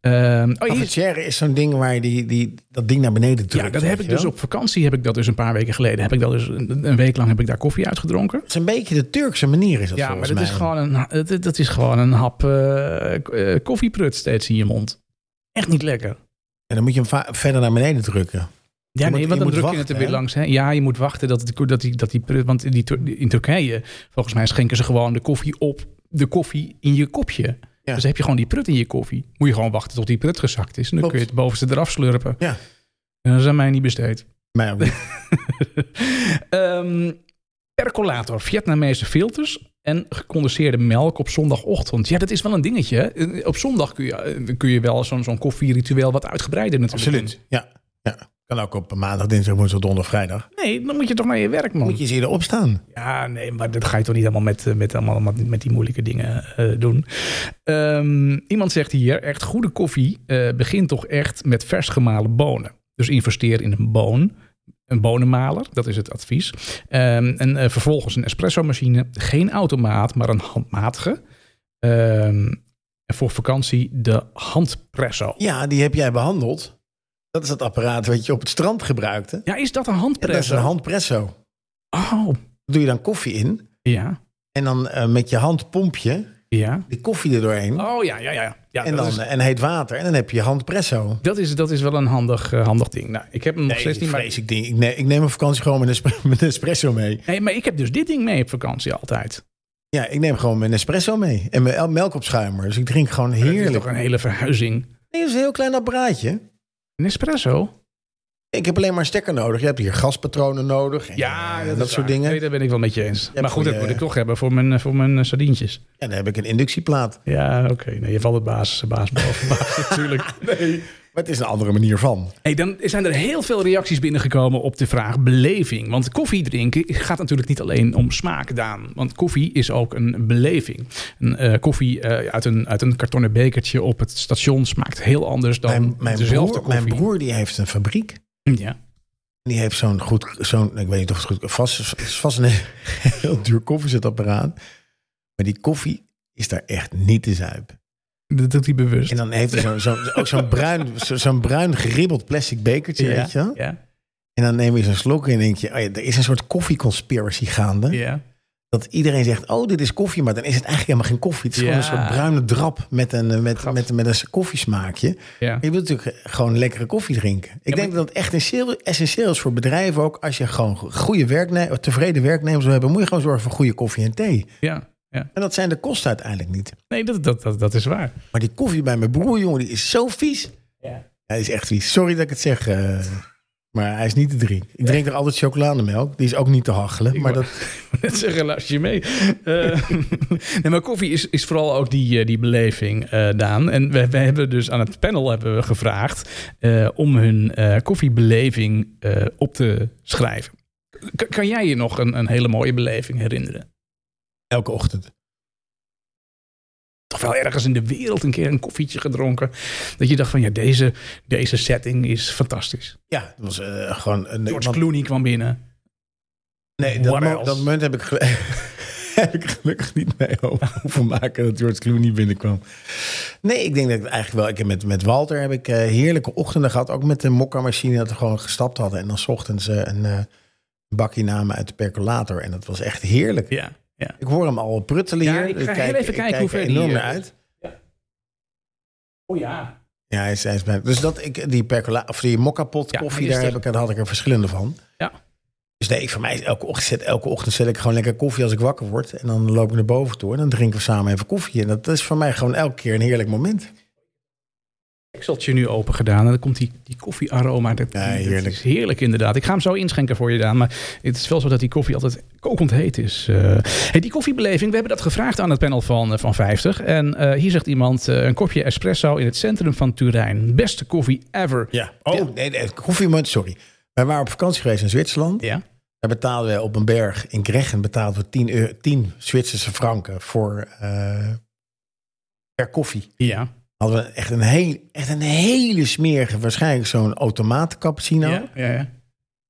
Ehm, oh, hier is-
Cafetière is zo'n ding waar je die, die, dat ding naar beneden drukt.
ja, dat
weet
heb ik
je
dus
wel.
op vakantie. Heb ik dat dus een paar weken geleden. Heb ik dat dus een, een week lang heb ik daar koffie uitgedronken.
Het is een beetje de Turkse manier is dat
Ja, maar
volgens
dat
mij.
is, gewoon een, dat, dat is gewoon een hap eh, k- eh, koffieprut steeds in je mond. Echt niet lekker.
En dan moet je hem va- verder naar beneden drukken.
Ja,
Je
nee,
moet-
want
je
dan
moet
druk je
wachten,
het er weer
hè?
langs. Hè? Ja, je moet wachten dat, het, dat, die, dat die prut... Want die, Tur- in Turkije, volgens mij, schenken ze gewoon de koffie op... de koffie in je kopje. Dus dan heb je gewoon die prut in je koffie. Moet je gewoon wachten tot die prut gezakt is. En dan
Klopt.
kun je het bovenste eraf slurpen.
Ja.
En dat is aan mij niet besteed.
Maar ook niet.
Ehm, percolator, Vietnamese filters en gecondenseerde melk op zondagochtend. Ja, dat is wel een dingetje. hè. Eh, Op zondag kun je, eh, kun je wel zo'n zo'n koffieritueel wat uitgebreider natuurlijk
absoluut. Ja. ja. Kan ook op maandag, dinsdag, woensdag, donderdag, vrijdag.
doen. Nee, dan moet je toch naar je werk, man.
Moet je eens eerder opstaan.
Ja, nee, maar dat ga je toch niet allemaal met, eh, met, allemaal, allemaal met die moeilijke dingen eh, doen. Ehm, iemand zegt hier, echt goede koffie eh, begint toch echt met vers gemalen bonen. Dus investeer in een boon, een bonenmaler, dat is het advies. Ehm, en eh, vervolgens een espresso-machine, geen automaat, maar een handmatige. Ehm, en voor vakantie de handpresso.
Ja, die heb jij behandeld. Dat is dat apparaat wat je op het strand gebruikte.
Ja, is dat een
Dat is
handpresso?
een handpresso. Daar
Oh,
doe je dan koffie in.
ja,
En dan eh, met je hand pomp je
ja.
die koffie er doorheen.
Oh, ja, ja, ja. ja
en,
dat
dan, eh,
is-
en heet water. En dan heb je handpresso.
Dat is, dat is wel een handig, eh, handig ding. Nou, ik heb hem nog
Nee,
steeds niet. Maar,
vrees ik, ding. Ik, ne- ik neem op vakantie gewoon mijn, espre- mijn espresso mee.
nee, maar ik heb dus dit ding mee op vakantie altijd.
Ja, ik neem gewoon mijn espresso mee. En mijn el- melkopschuimer. Dus ik drink gewoon
Heerlijk. Dat is
heerlijk.
toch een hele verhuizing.
Nee, dat is een heel klein apparaatje.
Een espresso?
Ik heb alleen maar een stekker nodig. Je hebt hier gaspatronen nodig. En, eh, dat,
is
soort
waar.
dingen.
Nee,
En
daar ben ik wel met je eens.
hebt
maar goed, dat
goeie-
moet ik toch hebben voor mijn, eh, voor mijn eh, sardientjes.
dan heb ik een inductieplaat.
Ja, oké. Nee, je valt het baas, baas boven baas natuurlijk.
Maar het is een andere manier van.
Hey, dan zijn er heel veel reacties binnengekomen op de vraag beleving. Want koffie drinken gaat natuurlijk niet alleen om smaak, Daan. Want koffie is ook een beleving. Een, eh, koffie eh, uit, een, uit een kartonnen bekertje op het station smaakt heel anders dan
Mijn, mijn,
dezelfde
broer, mijn
koffie. Mm,
broer die heeft een fabriek.
Ja.
Die heeft zo'n goed, zo'n, ik weet niet of het goed vast is, is vast een heel duur koffiezetapparaat. Maar die koffie is daar echt niet te zuip.
Dat doet hij bewust.
En dan heeft hij zo'n, zo'n, ook zo'n bruin, zo- zo'n bruin geribbeld plastic bekertje,
ja.
weet je wel.
Ja.
En dan neem je zo'n slok en denk je, oh ja, er is een soort koffieconspiracy gaande.
Ja.
Dat iedereen zegt, oh, dit is koffie, maar dan is het eigenlijk helemaal geen koffie. Het is gewoon
Ja.
een soort bruine drap met een, eh, met,
Grap.
met, met, een koffiesmaakje.
Ja.
Maar Je wilt natuurlijk gewoon lekkere koffie drinken. Ik denk dat het echt essentieel- essentieel is voor bedrijven ook. Als je gewoon goede werknemers, tevreden werknemers wil hebben, moet je gewoon zorgen voor goede koffie en thee.
ja. ja.
En dat zijn de kosten uiteindelijk niet.
Nee, dat, dat, dat, dat is waar.
Maar die koffie bij mijn broer, jongen, die is zo vies.
Ja.
Hij is echt vies. Sorry dat ik het zeg. eh, maar hij is niet te drinken. Ik drink er altijd chocolademelk. Die is ook niet te hachelen. Maar
wou-
dat,
Net zeggen, luister je mee. Eh, nee, maar koffie is, is vooral ook die, eh, die beleving, eh, Daan. En we, we hebben dus aan het panel hebben we gevraagd eh, om hun eh, koffiebeleving eh, op te schrijven. K- kan jij je nog een, een hele mooie beleving herinneren?
elke ochtend.
Toch wel ergens in de wereld een keer een koffietje gedronken. Dat je dacht van ja, deze, deze setting is fantastisch.
Ja, dat was eh, gewoon... Een,
George
want-
Clooney kwam binnen.
Nee, dat,
What
mo-
else?
dat moment heb ik, gel- heb ik gelukkig niet mee over hoeven maken dat George Clooney binnenkwam. Nee, ik denk dat ik het eigenlijk wel. Ik heb met, met Walter heb ik eh, heerlijke ochtenden gehad. Ook met de mokka-machine dat we gewoon gestapt hadden. En dan 's ochtends eh, een eh, bakje namen uit de percolator. En dat was echt heerlijk.
Ja, ja.
Ik hoor hem al pruttelen
Ja,
hier.
ik ga heel
kijk-
even kijken
kijk
hoe
er
ver die,
enorm
eh,
naar uit.
Oh ja.
Ja, hij is, hij is bijna- Dus dat ik die percola of die mokkapot
Ja,
koffie,
die is
daar,
er.
heb ik, daar had ik er verschillende van.
Ja.
Dus nee, ik voor mij is elke ochtend, zet- elke ochtend zet ik gewoon lekker koffie als ik wakker word. En dan loop ik naar boven toe en dan drinken we samen even koffie. En dat is voor mij gewoon elke keer een heerlijk moment.
Exceltje nu open gedaan en dan komt die, die koffiearoma. Dat,
Ja,
dat
heerlijk.
is heerlijk inderdaad. Ik ga hem zo inschenken voor je, Daan. Maar het is wel zo dat die koffie altijd kokend heet is. Eh, hey, die koffiebeleving, we hebben dat gevraagd aan het panel van, eh, van 50. En eh, hier zegt iemand, eh, een kopje espresso in het centrum van Turijn. Beste koffie ever.
Ja. Oh, nee, nee, koffiemoment, sorry. Wij waren op vakantie geweest in Zwitserland.
Ja?
Daar betaalden we op een berg in Greggen betaalden we 10, euro, 10 Zwitserse franken voor eh, per koffie.
Ja.
Hadden we Nou? echt een, heel, echt een hele smerige, waarschijnlijk zo'n automaat cappuccino.
ja, ja, ja.
En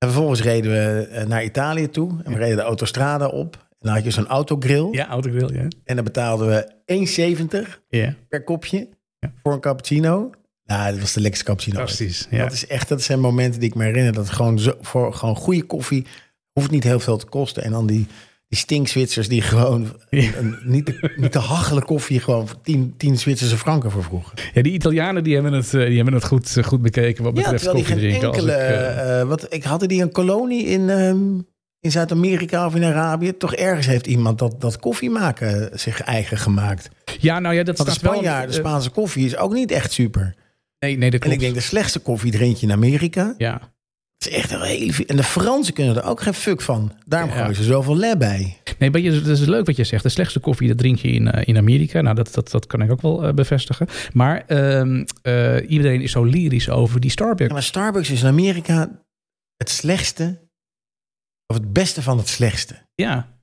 vervolgens reden we eh, naar Italië toe. En we reden de autostrada op. En dan had je zo'n autogrill.
Ja, autogrill, ja.
En dan betaalden we 1,70
Ja,
per kopje
Ja.
voor een cappuccino. Nou, dat was de lekkerste cappuccino. ooit.
fantastisch. Ja.
Dat is echt, dat zijn momenten die ik me herinner. Dat gewoon zo, voor gewoon goede koffie hoeft niet heel veel te kosten. En dan die, die stinkswitsers die gewoon
Ja.
een, niet, te, niet te hachelen koffie gewoon voor 10, 10 Zwitserse franken voor vroegen.
Ja, die Italianen die hebben het, eh, die hebben het goed, eh, goed bekeken wat
Ja,
betreft
terwijl die
koffie
geen
drinken. als
enkele.
ik, eh,
eh, wat, ik hadden die een kolonie in, ehm, in Zuid-Amerika of in Arabië. Toch ergens heeft iemand dat, dat koffie maken eh, zich eigen gemaakt.
ja, nou ja, dat
Want de
staat wel-
Spanjaard, de
eh,
Spaanse koffie is ook niet echt super.
nee, nee, dat
En
klopt.
ik denk de slechtste koffie drink je in Amerika.
ja.
Het is echt een hele. vi- En de Fransen kunnen er ook geen fuck van. Daarom
Ja.
gooien ze zoveel lab bij.
Nee, maar je, dat is leuk wat je zegt. De slechtste koffie, dat drink je in, eh, in Amerika. Nou, dat, dat, dat kan ik ook wel eh, bevestigen. Maar ehm, eh, iedereen is zo lyrisch over die
Ja,
Starbucks.
maar Starbucks is in Amerika het slechtste. Of het beste van het slechtste.
Ja,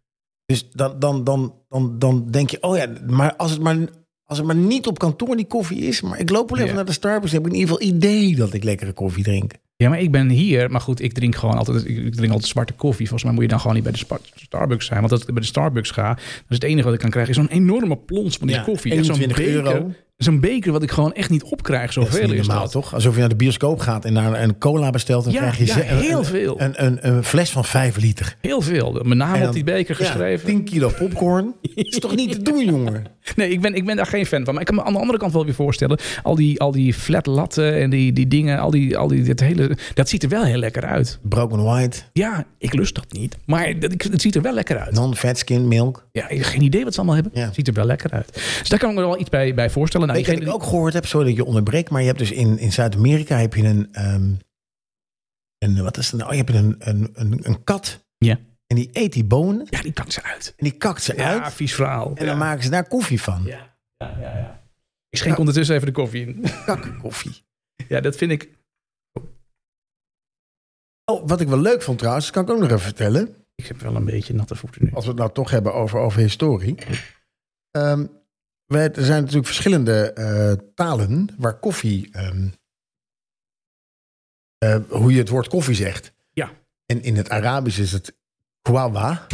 Dus dan, dan, dan, dan, dan denk je, oh ja, maar als het maar, als het maar niet op kantoor die koffie is, maar ik loop wel even
Ja.
naar de Starbucks, dan heb ik in ieder geval idee dat ik lekkere koffie drink.
ja, maar ik ben hier. Maar goed, ik drink gewoon altijd, ik ik drink altijd zwarte koffie. Volgens mij moet je dan gewoon niet bij de Spa- Starbucks zijn. Want als ik bij de Starbucks ga, dan is het enige wat ik kan krijgen... is zo'n enorme plons van die
Ja,
koffie. Echt zo'n
21
beker-
euro.
Zo'n beker wat ik gewoon echt niet opkrijg.
Dat is
Zoveel
niet
is
normaal,
dat.
toch? Alsof je naar de bioscoop gaat en daar een cola bestelt, dan
Ja,
krijg je
ja,
ze-
heel
een,
veel.
Een, een, een fles van 5 liter.
Heel veel. Mijn naam
En
op
dan-
die beker
ja,
geschreven.
10 kilo popcorn. is toch niet te doen, jongen?
Nee, ik ben, ik ben daar geen fan van. Maar ik kan me aan de andere kant wel weer voorstellen. Al die, al die flat latten en die, die dingen. Al die, al die, dat, hele, dat ziet er wel heel lekker uit.
Broken white,
Ja, ik lust dat niet. Maar dat, ik- het ziet er wel lekker uit.
non-fat skin milk.
Ja, ik heb geen idee wat ze allemaal hebben.
Ja.
Het ziet er wel lekker uit. Dus daar kan ik me wel iets bij, bij voorstellen. Nou,
Weet je wat
diegene
ik ook gehoord heb, sorry dat ik je onderbreekt, maar je hebt dus in, in Zuid-Amerika heb je een, ehm, een wat is het nou? Je hebt een, een, een, een kat
die- ja.
en die eet die bonen
ja, die kan ze uit.
en die kakt ze
Ja,
uit
vies verhaal.
en
ja.
dan maken ze daar koffie van.
Ja, ja, ja. ja. Ik schenk ondertussen even de koffie in.
Kakkoffie.
Ja, dat vind ik...
Oh, wat ik wel leuk vond trouwens, dat kan ik ook nog even vertellen.
Ik heb wel een beetje natte voeten nu.
als we het nou toch hebben over, over historie. Ehm, wij, er zijn natuurlijk verschillende eh, talen waar koffie. ehm, eh, hoe je het woord koffie zegt.
Ja.
En in het Arabisch is het kwawa.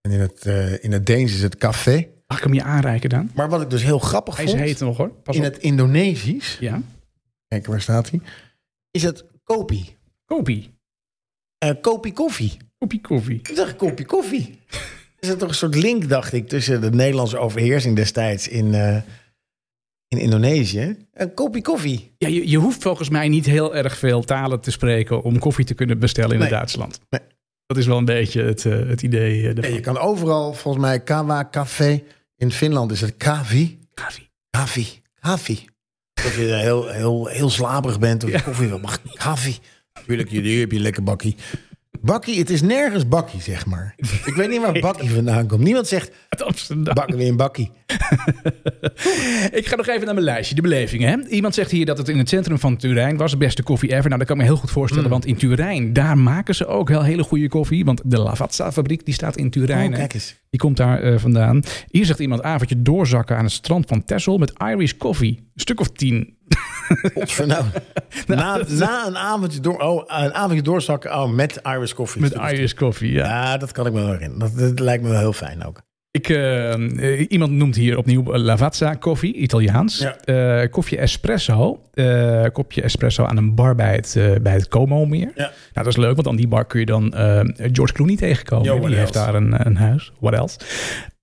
En in het, eh, in het Deens is het café.
Mag ik hem je aanreiken dan?
Maar wat ik dus heel grappig
Hij is
vond.
heet nog hoor. Pas
in
op.
het Indonesisch.
Ja.
Kijk, waar staat hij? Is het kopi.
Kopie.
Eh kopi koffie.
Kopie koffie.
Ik dacht, een kopje koffie. Er zit toch een soort link, dacht ik, tussen de Nederlandse overheersing destijds in, eh, in Indonesië. Een kopje koffie.
Ja, je, je hoeft volgens mij niet heel erg veel talen te spreken om koffie te kunnen bestellen in
Nee.
Duitsland.
Nee.
Dat is wel een beetje het, eh, het idee. eh,
Nee,
daarvan.
je kan overal, volgens mij, kawa, café. In Finland is het kavi.
Koffie.
Kavi. Kavi. Of je heel, heel, heel slaperig bent of je koffie wil. Mag ik kavi? Tuurlijk, jullie heb je een lekker bakkie. Bakkie, het is nergens bakkie, zeg maar. Ik weet niet waar bakkie vandaan komt. Niemand zegt,
Uit Amsterdam.
bakken weer een bakkie. Oh,
Ik ga nog even naar mijn lijstje, de belevingen. Hè? Iemand zegt hier dat het in het centrum van Turijn was de beste koffie ever. Nou, dat kan ik me heel goed
Mm.
voorstellen, want in Turijn, daar maken ze ook heel hele goede koffie. Want de Lavazza-fabriek, die staat in Turijn.
Oh,
hè.
kijk eens.
Die komt daar eh, vandaan. Hier zegt iemand avondje doorzakken aan het strand van Texel met Irish koffie. Een stuk of tien.
Godverdomme.
Nou,
na, na een avondje door, oh, een avondje doorzakken, oh, met Irish coffee.
Met Irish koffie, ja.
Ja, dat kan ik me wel herinneren. Dat, dat lijkt me wel heel fijn ook.
Ik, eh, eh, iemand noemt hier opnieuw Lavazza koffie, Italiaans.
Ja.
Eh, kopje espresso. eh, kopje espresso aan een bar bij het, eh, bij het Como meer.
Ja.
Nou, dat is leuk, want aan die bar kun je dan eh, George Clooney tegenkomen.
Yo,
die
what
heeft
else?
daar een, een huis. What else?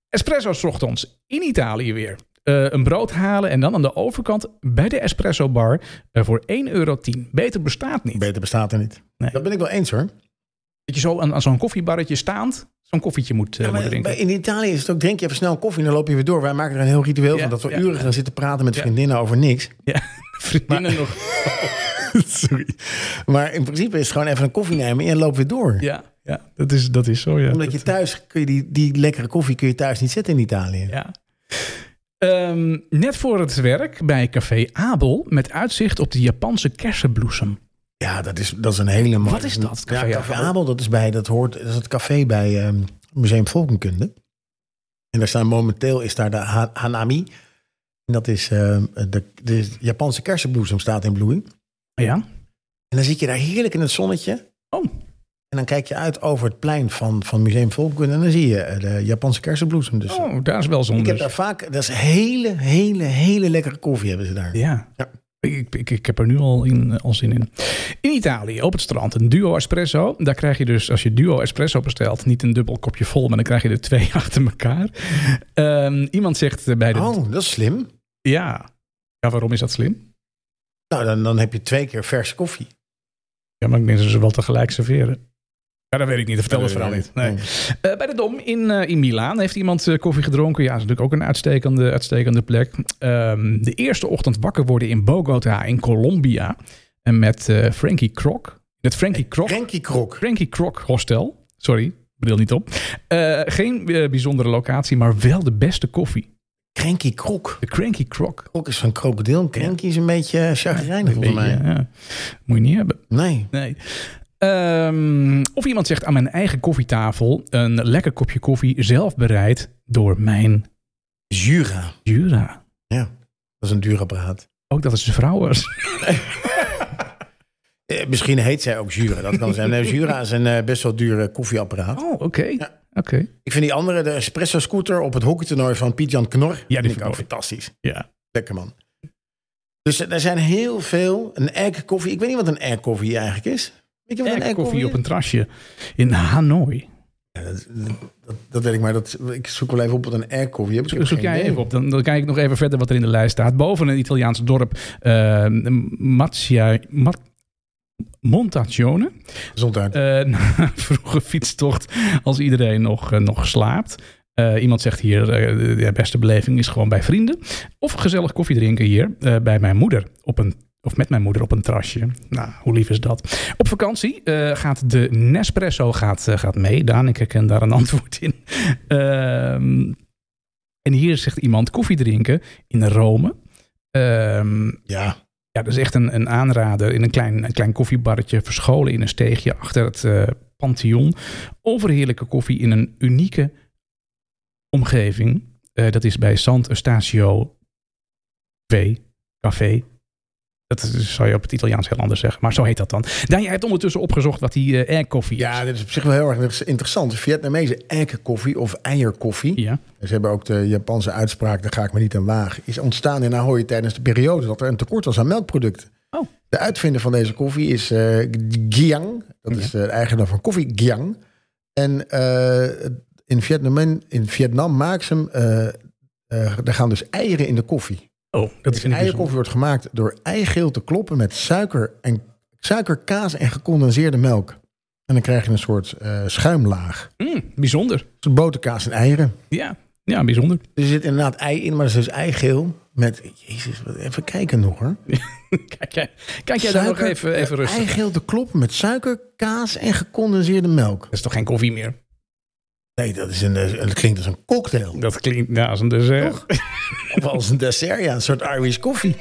Espresso 's ochtends in Italië weer. Eh, een brood halen en dan aan de overkant bij de espresso bar eh, voor 1,10 euro. Beter bestaat niet.
Beter bestaat er niet.
Nee.
Dat ben ik wel eens hoor.
Dat je zo aan, aan zo'n koffiebarretje staand zo'n koffietje moet, eh,
Ja,
moet
maar
drinken.
bij- in Italië is het ook, drink je even snel koffie en dan loop je weer door. Wij maken er een heel ritueel
Ja,
van dat we
ja.
uren gaan zitten praten met vriendinnen over niks.
Ja, vriendinnen nog.
Sorry. Maar in principe is het gewoon even een koffie nemen en loop weer door.
Ja, ja dat, is, dat is zo, ja.
Omdat je thuis, kun je die, die lekkere koffie kun je thuis niet zetten in Italië.
ja. Ehm, net voor het werk bij Café Abel met uitzicht op de Japanse kersenbloesem.
Ja, dat is, dat is een hele mooie.
Wat is dat, het Café
ja, Café
Abel?
Abel, dat is, bij, dat, hoort, dat is het café bij ehm, Museum Volkenkunde. En daar staan momenteel is daar de ha- Hanami. En dat is ehm, de, de Japanse kersenbloesem staat in bloei.
Oh Ja? Oh,
En dan zit je daar heerlijk in het zonnetje.
Oké.
En dan kijk je uit over het plein van, van Museum Volkkunde en dan zie je eh, de Japanse kersenbloesem. Dus
Oh, daar is wel
ik
zonde.
heb daar vaak, dat is hele, hele, hele lekkere koffie hebben ze daar.
Ja.
Ja.
Ik, ik, ik heb er nu al, in, al zin in. In Italië, op het strand, een duo espresso. Daar krijg je dus, als je duo espresso bestelt, niet een dubbel kopje vol, maar dan krijg je er twee achter elkaar. Ehm, iemand zegt eh, bij de...
Oh, dat is slim.
Ja. ja, waarom is dat slim?
Nou, dan, dan heb je twee keer verse koffie.
Ja, maar ik denk dat ze wel tegelijk serveren. Ja, dat weet ik niet. Dat vertel het verhaal niet.
Oh.
Nee. Eh, bij de Dom in, eh, in Milaan heeft iemand eh, koffie gedronken. Ja, dat is natuurlijk ook een uitstekende, uitstekende plek. Ehm, de eerste ochtend wakker worden in Bogota in Colombia. En met eh, Frankie Croc. Het Frankie Croc.
Renkie Krok.
Frankie Croc Hostel. Sorry, bril niet op. Eh, geen eh, bijzondere locatie, maar wel de beste koffie.
Krenkie Krok.
De Cranky Croc.
Krok is van krokodil. Krenkie is een beetje eh, chagrijnig volgens
Beetje,
mij.
ja. Moet je niet hebben.
Nee.
Nee. Ehm, of iemand zegt aan mijn eigen koffietafel een lekker kopje koffie zelf bereid door mijn
Jura.
Jura.
Ja, dat is een duur apparaat.
Ook dat het zijn vrouw was.
Eh, misschien heet zij ook Jura, dat kan zijn. Nee, Jura is een eh, best wel dure koffieapparaat.
Oh, oké.
Ja.
Oké.
Ik vind die andere, de espresso scooter op het hockeytoernooi van Piet-Jan Knor.
die
vind
vind
ik
ik
ook
mooi.
fantastisch.
Ja.
Lekker man. Dus er zijn heel veel. Een egg koffie. Ik weet niet wat een egg koffie eigenlijk is. Weet je wat een
Egg
egg
koffie
koffie
op een trasje in Hanoi.
is? Dat, dat weet ik maar. Dat, ik zoek wel even op wat een egg koffie is. Ik heb
Zoek
geen
jij
idee.
even op. Dan, dan kijk ik nog even verder wat er in de lijst staat. Boven een Italiaans dorp, eh Mazia, Ma- Montagione.
Gezondheid.
Eh, na een vroege fietstocht als iedereen nog, eh, nog slaapt. Eh, iemand zegt hier, eh, de- de beste beleving is gewoon bij vrienden. Of gezellig koffie drinken hier eh, bij mijn moeder. Op een, of met mijn moeder op een terrasje. Nou, hoe lief is dat? Op vakantie eh, gaat de Nespresso gaat, eh, gaat mee. Daan, ik herken daar een antwoord in. Ehm, en hier zegt iemand koffie drinken in Rome. Ehm
ja.
ja, dat is echt een, een aanrader. In een klein, een klein koffiebarretje, verscholen in een steegje achter het eh, Pantheon. Overheerlijke koffie in een unieke omgeving. Eh, dat is bij Sant Eustacio V. Café. Dat is- zou je op het Italiaans heel anders zeggen, maar zo heet dat dan. Daan, jij hebt ondertussen opgezocht wat die eh, air koffie is.
Ja, dit is op zich wel heel erg interessant. De Vietnamese eikenkoffie of eierkoffie.
Ja.
Ze hebben ook de Japanse uitspraak, daar ga ik me niet aan wagen. Is ontstaan in Ahoy tijdens de periode dat er een tekort was aan melkproducten.
Oh.
De uitvinder van deze koffie is eh Giang. Dat is eh, de eigenaar van koffie Giang. En eh, in, Vietnam, in Vietnam maken ze hem. eh, eh, daar gaan dus eieren in de koffie.
Oh, dat
Dus
vind ik bijzonder.
eierkoffie wordt gemaakt door eigeel te kloppen met suiker, en, suiker kaas en gecondenseerde melk. En dan krijg je een soort eh, schuimlaag.
Mm, bijzonder.
Dus boterkaas en eieren.
Ja. ja, bijzonder.
Er zit inderdaad ei in, maar het is dus eigeel met... Jezus, wat- even kijken nog hoor.
Kijk jij, kijk jij daar nog even, even rustig.
Eigeel te kloppen met suiker, kaas en gecondenseerde melk.
Dat is toch geen koffie meer?
Nee, dat, is een, eh, dat klinkt als een cocktail.
Dat klinkt nou, als een dessert.
Toch? Of als een dessert, ja. Een soort Irish koffie.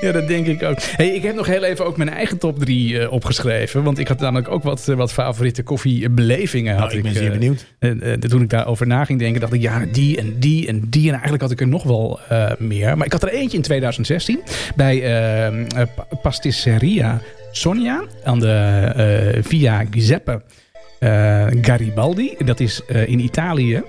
Ja, dat denk ik ook. Hey, ik heb nog heel even ook mijn eigen top 3 opgeschreven. Want ik had namelijk ook wat, eh, wat favoriete koffiebelevingen. had
Nou, ik ben
eh,
zeer benieuwd.
eh, eh, toen ik daarover na ging denken, dacht ik ja, die en die en die. En eigenlijk had ik er nog wel eh, meer. Maar ik had er eentje in 2016 bij eh, eh, pa- Pastisseria Sonia aan de eh, Via Giuseppe eh, Garibaldi. Dat is eh, in Italië.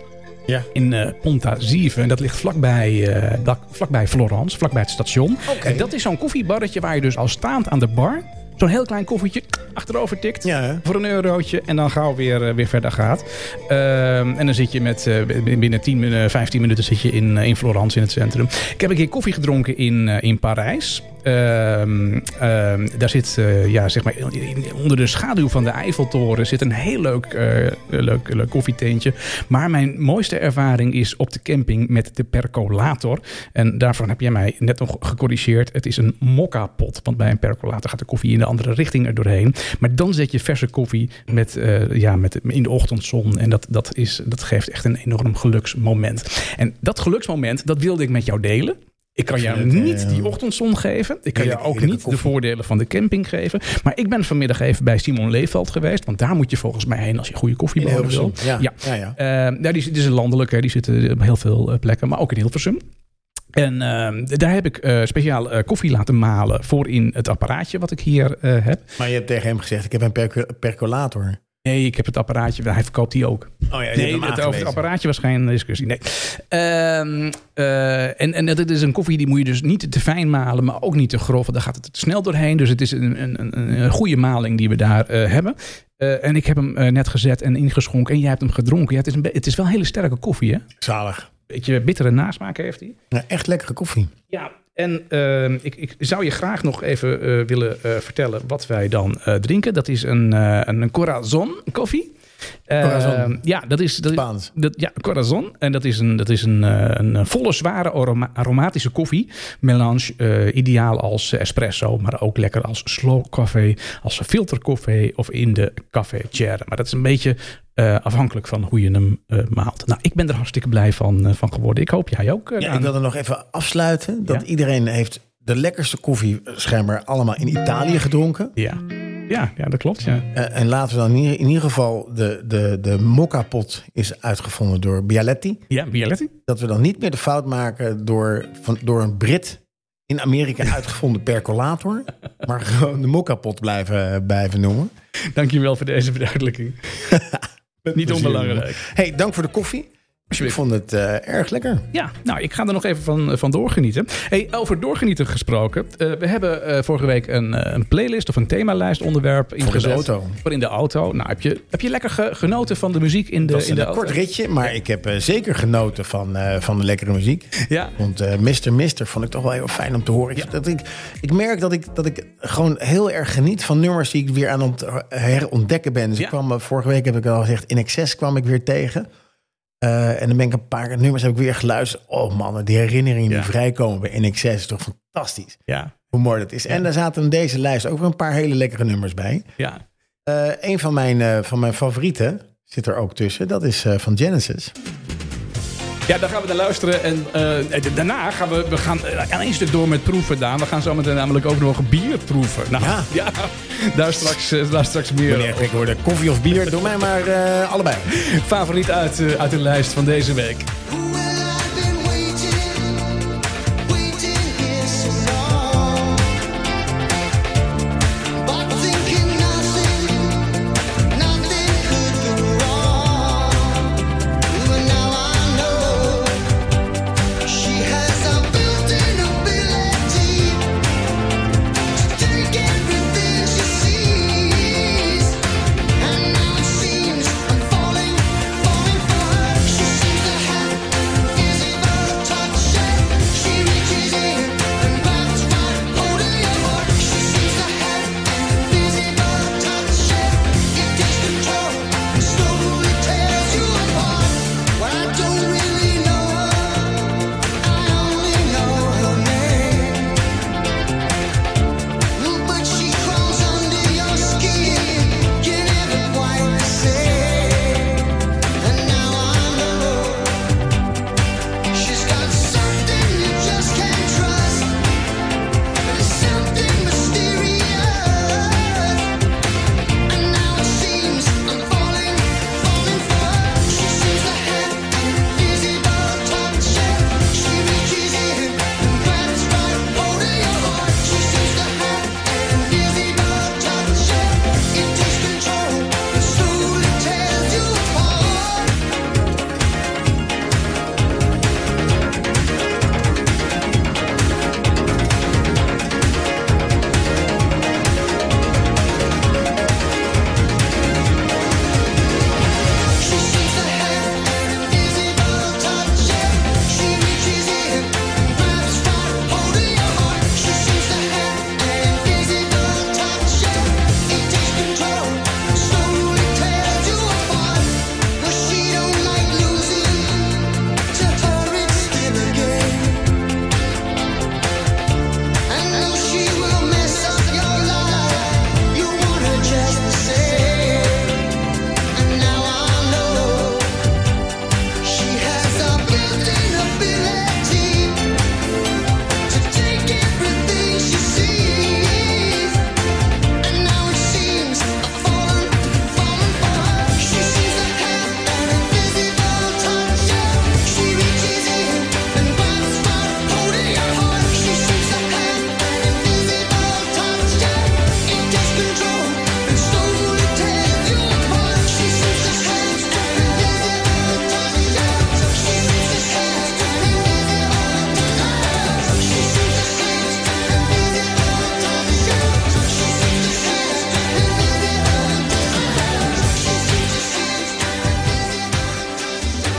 Ja.
In eh Ponta Sieve. En dat ligt vlakbij, eh dak- vlakbij Florence, vlakbij het station.
Oké.
En dat is zo'n koffiebarretje waar je dus al staand aan de bar... zo'n heel klein koffietje achterover tikt
Ja, hè?
voor een eurotje en dan gauw weer, eh, weer verder gaat. Ehm, en dan zit je met, eh, b- binnen 10, min- eh, 15 minuten zit je in, eh, in Florence in het centrum. Ik heb een keer koffie gedronken in, eh, in Parijs. Ehm, ehm, daar zit, eh, ja, zeg maar, in- in- onder de schaduw van de Eiffeltoren zit een heel leuk, eh, leuk, leuk koffietentje. Maar mijn mooiste ervaring is op de camping met de percolator. En daarvan heb jij mij net nog gecorrigeerd. Het is een mokka-pot. Want bij een percolator gaat de koffie in de andere richting er doorheen. Maar dan zet je verse koffie met, eh, ja, met, in de ochtendzon. En dat, dat, is, dat geeft echt een enorm geluksmoment. En dat geluksmoment, dat wilde ik met jou delen. Ik kan jou
vind het,
niet
eh,
die ochtendzon geven. Ik kan
heerlijk-
jou ook
heerlijke
niet de
koffie.
voordelen van de camping geven. Maar ik ben vanmiddag even bij Simon Leefveld geweest. Want daar moet je volgens mij heen als je goede koffie
In
wil.
Hilversum. Ja,
Ja. Ehm,
ja, ja.
Eh, nou, die, die is landelijk, hè. die zitten op heel veel eh, plekken, maar ook in Hilversum. En ehm, daar heb ik eh, speciaal eh, koffie laten malen voor in het apparaatje wat ik hier eh, heb.
Maar je hebt tegen hem gezegd, ik heb een percu- percolator.
Nee, ik heb het apparaatje, hij verkoopt die ook.
Oh ja,
Nee, het over het apparaatje was geen discussie. Nee. Ehm, eh, en, en dat is een koffie die moet je dus niet te fijn malen, maar ook niet te grof. want Daar gaat het te snel doorheen. Dus het is een, een, een, een goede maling die we daar eh, hebben. Eh, en ik heb hem eh, net gezet en ingeschonken. En jij hebt hem gedronken. Ja, het, is een be- het is wel een hele sterke koffie, hè?
Zalig.
Beetje bittere nasmaak heeft hij.
Ja, echt lekkere koffie.
Ja, en ehm, ik, ik zou je graag nog even eh, willen eh, vertellen wat wij dan eh, drinken. Dat is een, eh, een, een Corazon koffie. Eh,
Corazon.
ja, dat is, dat, is-
Spaans.
dat, ja, Corazon. En dat is een, dat is een, eh, een eh, volle, zware aroma- aromatische koffie. Melange, eh, ideaal als eh, espresso, maar ook lekker als slow café, als filterkoffie of in de cafetière. Maar dat is een beetje eh, afhankelijk van hoe je hem eh, maalt. Nou, ik ben er hartstikke blij van, eh, van geworden. Ik hoop jij ook. eh,
Ja,
Daan.
ik wilde nog even afsluiten. Dat
Ja.
iedereen heeft de lekkerste koffie eh, schijnbaar allemaal in Italië gedronken.
Ja. Ja, ja, dat klopt. Ja.
Eh, en laten we dan in ieder, in ieder geval, de, de, de mokka-pot is uitgevonden door Bialetti.
Ja, Bialetti.
Dat we dan niet meer de fout maken door, van, door een Brit in Amerika uitgevonden percolator. Maar gewoon de mokka-pot blijven, blijven noemen.
Dankjewel voor deze verduidelijking. Niet onbelangrijk.
Hey, dank voor de koffie. Ik vond het eh, erg lekker.
Ja, nou, ik ga er nog even van, van doorgenieten. Hey, over doorgenieten gesproken. Eh, we hebben eh, vorige week een, eh, een playlist of een themalijst onderwerp ingezet.
auto.
Voor in de auto. Nou, heb je, heb je lekker ge- genoten van de muziek in de,
Het was
in de
een
auto?
kort ritje, maar ik heb eh, zeker genoten van, eh, van de lekkere muziek.
Ja.
Want eh Mister Mister vond ik toch wel heel fijn om te horen. Ik, dat ik, ik merk dat ik, dat ik gewoon heel erg geniet van nummers die ik weer aan het herontdekken ben. Dus
Ja.
ik kwam, eh, vorige week heb ik al gezegd, in excess kwam ik weer tegen. Eh, en dan ben ik een paar keer- nummers heb ik weer geluisterd. Oh man, die herinneringen
Ja.
die vrijkomen bij in excess is toch fantastisch.
Ja,
Hoe mooi dat is. En daar zaten in deze lijst ook weer een paar hele lekkere nummers bij.
ja.
Eh, een van mijn, eh, van mijn favorieten zit er ook tussen. Dat is eh, van Genesis.
Ja, daar gaan we naar luisteren. En eh, d- daarna gaan we, we gaan eh, aan één stuk door met proeven, Daan. We gaan zo meteen namelijk ook nog bier proeven. Nou, ja.
Ja.
daar, straks, eh, daar straks meer
Meneer,
over.
ik hoorde koffie of bier. Doe mij maar eh, allebei.
favoriet uit, eh, uit de lijst van deze week.
Well, I've been waiting, waiting here so long. But thinking nothing, nothing could go wrong. But now I know she has a built-in ability to take everything she sees. And now it seems I'm falling, falling for her. She seems to have.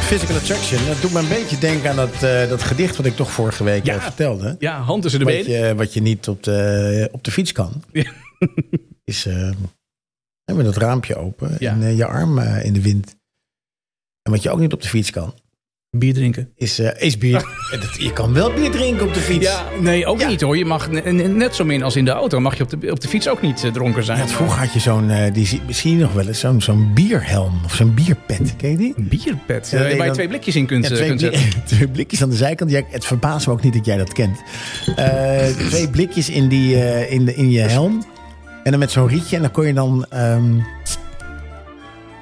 Physical Attraction. Dat doet me een beetje denken aan dat, eh, dat gedicht wat ik toch vorige week
Ja.
eh, vertelde.
Ja, hand tussen de
Wat
benen.
je, eh, wat je niet op de, op de fiets kan.
Ja.
Is eh, hè, met dat raampje open
Ja.
en eh, je arm eh, in de wind. En wat je ook niet op de fiets kan,
Bier drinken.
is, eh, is bier. En dat- je kan wel bier drinken op de fiets.
Ja, nee, ook niet hoor. Je mag ne- ne- net zo min als in de auto. Mag je op de, op de fiets ook niet eh, dronken zijn.
Ja, vroeger had je zo'n, eh, die zie- misschien nog wel eens, zo'n zo'n bierhelm of zo'n bierpet. Ken je die?
Een bierpet.
Ja,
eh,
nee,
waar je
dan-
twee blikjes in kunt,
Ja,
eh,
twee,
kunt
blik-
zetten.
twee blikjes aan de zijkant. Jij, het verbaast me ook niet dat jij dat kent. Eh, twee blikjes in, die, eh, in, de, in je helm. En dan met zo'n rietje. En dan kon je dan... ehm,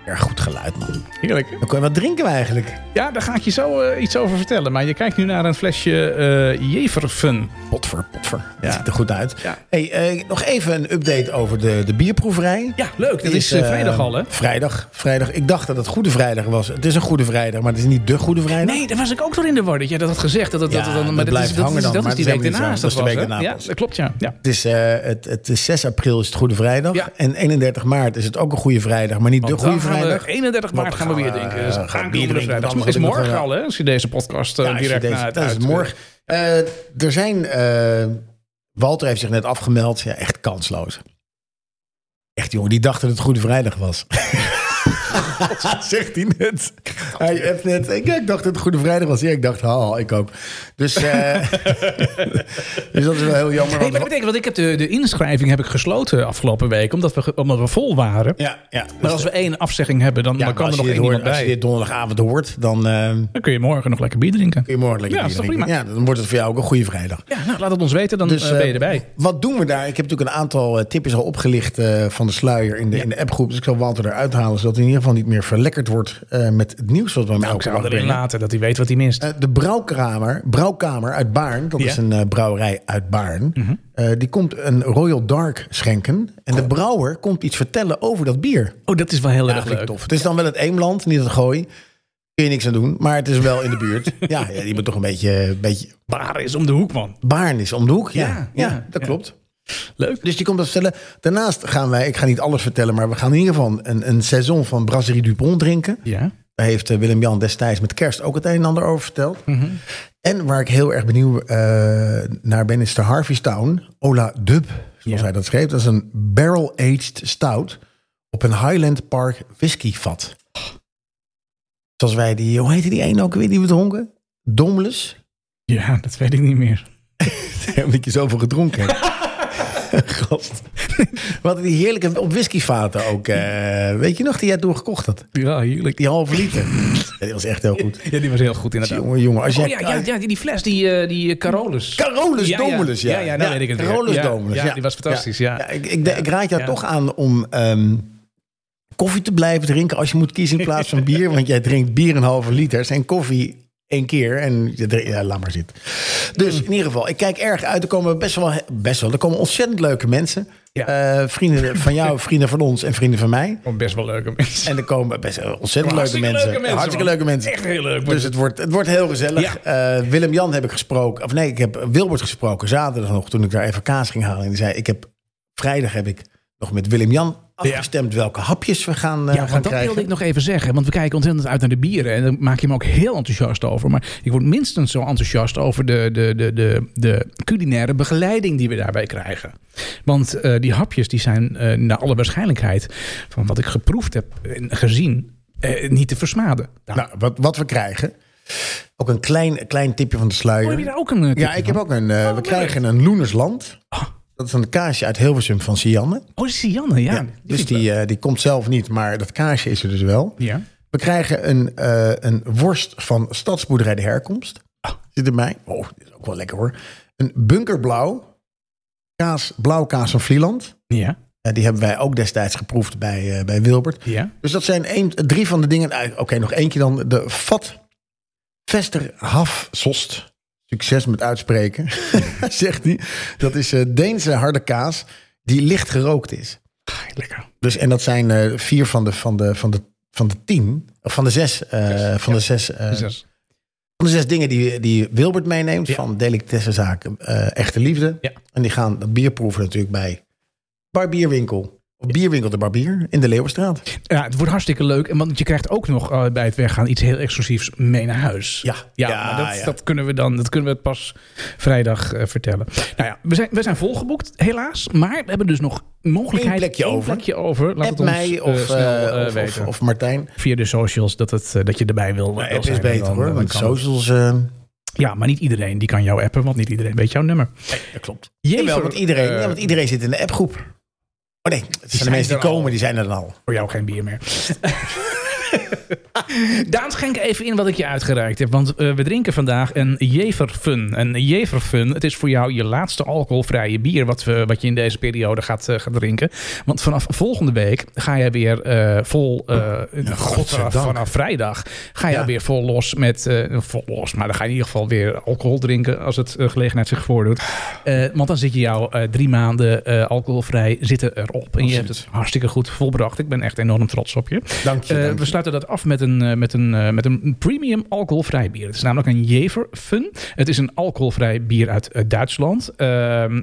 erg goed geluid, man.
Heerlijk.
Dan kon je, wat drinken we eigenlijk?
Ja, daar ga ik je zo eh, iets over vertellen. Maar je kijkt nu naar een flesje eh Jeverfun.
Potver, potver.
Ja.
Dat ziet er goed uit.
Ja.
Hey, eh, nog even een update over de, de bierproeverij.
Ja, leuk. Dat
Die
is eh,
eh,
vrijdag al, hè?
Vrijdag, vrijdag. Ik dacht dat het Goede Vrijdag was. Het is een Goede Vrijdag, maar het is niet de Goede Vrijdag.
Nee, daar was ik ook door in de war. Dat jij dat had gezegd. Dat, dat,
Ja,
dat, dat, maar
dat
dat
blijft
is, dat,
hangen
is,
dan,
dat is
maar
die
dat
week
is helemaal
daarna.
niet zo. Dat is de week daarna
Ja,
pas.
dat klopt, ja. ja.
Het is, eh, het, het is 6 april is het Goede Vrijdag.
Ja.
En 31 maart is het ook een Goede Vrijdag, maar niet
Want
de Goede
dan gaan we-
Vrijdag.
31 maart
Want
gaan we
gaan
weer
we,
denken.
eh,
Dus
gaan we bier
aankomende
drinken,
vrijdag.
want
Is
anders
morgen
hebben
al,
we-
hè? Als je deze podcast eh,
Ja, als je
direct
deze-
na het
dat is
uitzenden.
morgen. Eh, er zijn. eh, Walter heeft zich net afgemeld. Ja, echt kansloos. Echt jongen, die dacht dat het Goede Vrijdag was. Zegt hij net. Hij heeft net. Ik, ik dacht dat het Goede Vrijdag was. Ja, ik dacht, haha, ik ook. Dus, eh, dus dat is wel heel
Hey,
jammer. want-
maar dat betekent, want ik heb de, de inschrijving heb ik gesloten afgelopen week, omdat we, ge- omdat we vol waren.
ja, ja. Dus,
Maar als we één afzegging hebben, dan,
ja,
dan
maar
kan
als
er nog
je
één
dit hoort,
iemand
Als je
bij.
dit donderdagavond hoort, dan eh,
Dan kun je morgen nog lekker bier drinken.
kun je morgen lekker
Ja,
bier
is toch
drinken.
prima?
Ja, dan wordt het voor jou ook een goede vrijdag.
Ja, nou, laat het ons weten, dan
Dus,
eh, ben je
eh,
erbij.
Wat doen we daar? Ik heb natuurlijk een aantal eh, tipjes al opgelicht eh, van de sluier in de, in de appgroep. Dus ik zal Walter eruit halen, zodat hij in ieder geval niet meer verlekkerd wordt eh, met het nieuws wat we hem
Nou, Ik
elke dag
zou erin
brengen.
laten dat hij weet wat hij mist.
Eh, de brouwkamer, brouwkamer uit Baarn, dat
Ja. Mhm.
is een eh, brouwerij uit Baarn, eh, die komt een Royal Dark schenken. En de brouwer komt iets vertellen over dat bier.
oh, dat is wel heel erg
Eigenlijk
leuk.
tof. Het is dan wel het Eemland, niet het Gooi. Kun je niks aan doen, maar het is wel in de buurt. ja, ja, je moet toch een beetje, eh, beetje...
Baren is om de hoek, man.
Baarn is om de hoek, ja.
Ja,
Ja,
ja,
dat
ja.
klopt.
Leuk.
Dus die komt dat vertellen. Daarnaast gaan wij, ik ga niet alles vertellen, maar we gaan in ieder geval een, een seizoen van Brasserie Dupont drinken.
Ja.
Daar heeft eh, Willem-Jan destijds met kerst ook het een en ander over verteld.
Mhm.
En waar ik heel erg benieuwd eh, naar ben, is de Harvey's Town. Ola Dub, zoals
Ja.
hij dat schreef. Dat is een barrel-aged stout op een Highland Park whiskyvat. Zoals wij die, hoe heette die ene ook weer die we dronken? Domles.
Ja, dat weet ik niet meer.
Omdat je zoveel gedronken hebt. Gast. Wat die heerlijke op whiskyvaten ook. eh, weet je nog die jij toen gekocht had?
Ja, heerlijk.
Die halve liter. Ja, die was echt heel goed.
Ja, die was heel goed inderdaad.
Jongen, jongen. Als jij,
Oh ja, ja, ja die, die fles, die, eh, die eh, Carolus.
Carolus
Ja, ja.
Domelus, ja.
Ja, ja, nou weet ik het weer.
Carolus
Ja,
Domelus,
ja, die was fantastisch, ja.
ik, ik, ik raad jou
Ja.
toch aan om ehm, koffie te blijven drinken als je moet kiezen in plaats van bier. want jij drinkt bier een halve liters en koffie één keer. En je drinkt, ja, laat maar zitten.
Hmm.
Dus in ieder geval, ik kijk erg uit. Er komen best wel, best wel er komen ontzettend leuke mensen.
Ja.
Eh, vrienden van jou, vrienden van ons en vrienden van mij.
Oh, best wel leuke mensen.
En er komen best wel ontzettend leuke
Hartstikke
mensen.
leuke mensen,
Hartstikke
man.
leuke mensen.
Echt heel leuk wordt
Dus het wordt, het wordt heel gezellig. Eh, Willem-Jan heb ik gesproken. Of nee, ik heb Wilbert gesproken zaterdag nog. Toen ik daar even kaas ging halen. En die zei, ik heb, vrijdag heb ik nog met Willem-Jan afgestemd welke hapjes we gaan, eh,
Ja,
gaan
want dat
krijgen.
wilde ik nog even zeggen. Want we kijken ontzettend uit naar de bieren. En daar maak je me ook heel enthousiast over. Maar ik word minstens zo enthousiast over de, de, de, de, de culinaire begeleiding die we daarbij krijgen. Want eh, die hapjes die zijn eh, naar alle waarschijnlijkheid van wat ik geproefd heb en gezien eh, niet te versmaden. Nou,
Nou, wat, wat we krijgen. Ook een klein, klein tipje van de
oh,
sluier.
heb je daar ook een eh, tipje
ja, ik heb
van?
ook een. eh, we krijgen een Loenersland. Dat is een kaasje uit Hilversum van Sianne.
Oh, dat is Janne, ja.
Ja, dus die, eh, die komt zelf niet, maar dat kaasje is er dus wel.
Ja.
We krijgen een, eh, een worst van Stadsboerderij de Herkomst. Zit erbij. Oh, dit is ook wel lekker hoor. Een bunkerblauw. Kaas, blauw kaas van Vlieland.
Ja,
Eh, die hebben wij ook destijds geproefd bij, eh, bij Wilbert.
ja.
Dus dat zijn één, drie van de dingen. Nou, Oké, nog eentje dan. De Vat Vesterhafsost. Succes met uitspreken, zegt hij. Dat is eh, Deense harde kaas die licht gerookt is.
Lekker.
Dus, en dat zijn eh, vier van de, van, de, van, de, van de tien, of van de zes, eh, van, de zes eh,
Dus dat is-
van de zes dingen die, die Wilbert meeneemt
Ja.
van delicatessenzaken, eh Echte Liefde.
Ja.
En die gaan dat bier proeven natuurlijk bij Bar Bierwinkel Op Bierwinkel de Barbier in de Leeuwenstraat.
Ja, het wordt hartstikke leuk. En want je krijgt ook nog eh, bij het weggaan iets heel exclusiefs mee naar huis.
Ja.
Ja,
Ja,
maar dat,
ja.
dat kunnen we dan. Dat kunnen we het pas vrijdag eh, vertellen. Nou ja, we zijn, we zijn volgeboekt, helaas. Maar we hebben dus nog mogelijkheid.
Eén plekje
één
over.
plekje over. Laat
App
het ons,
mij
eh,
of,
snel
eh,
eh,
of,
weten.
of, of Martijn.
Via de socials dat, het, eh, dat je erbij wil. wil
Maar app is
zijn.
beter
Dan,
hoor,
eh,
want
dan kan het.
socials... eh,
Ja, maar niet iedereen die kan jou appen, want niet iedereen weet jouw nummer.
nee, dat klopt.
Jever,
Jawel, want iedereen,
eh,
ja, want iedereen zit in de appgroep. Oh nee, het zijn
zijn
de mensen die
er al.
komen, die zijn er dan al.
Voor jou geen bier meer. Daan, schenk even in wat ik je uitgereikt heb. Want eh, we drinken vandaag een Jeverfun. En Jeverfun, het is voor jou je laatste alcoholvrije bier... wat, we, wat je in deze periode gaat, eh, gaat drinken. Want vanaf volgende week ga jij weer eh, vol... eh,
godzijdank.
vanaf, vanaf vrijdag ga jij
Ja.
weer vol los met... eh, vol los, maar dan ga je in ieder geval weer alcohol drinken... als het eh, gelegenheid zich voordoet. Eh, want dan zit je jouw eh, drie maanden eh, alcoholvrij zitten erop. En je hebt het hartstikke goed volbracht. Ik ben echt enorm trots op je.
Dank je,
Eh,
dank je.
we sluiten dat af met een, eh, met, een, eh, met een premium alcoholvrij bier. Het is namelijk een Jeverfun. Het is een alcoholvrij bier uit eh, Duitsland. Ehm,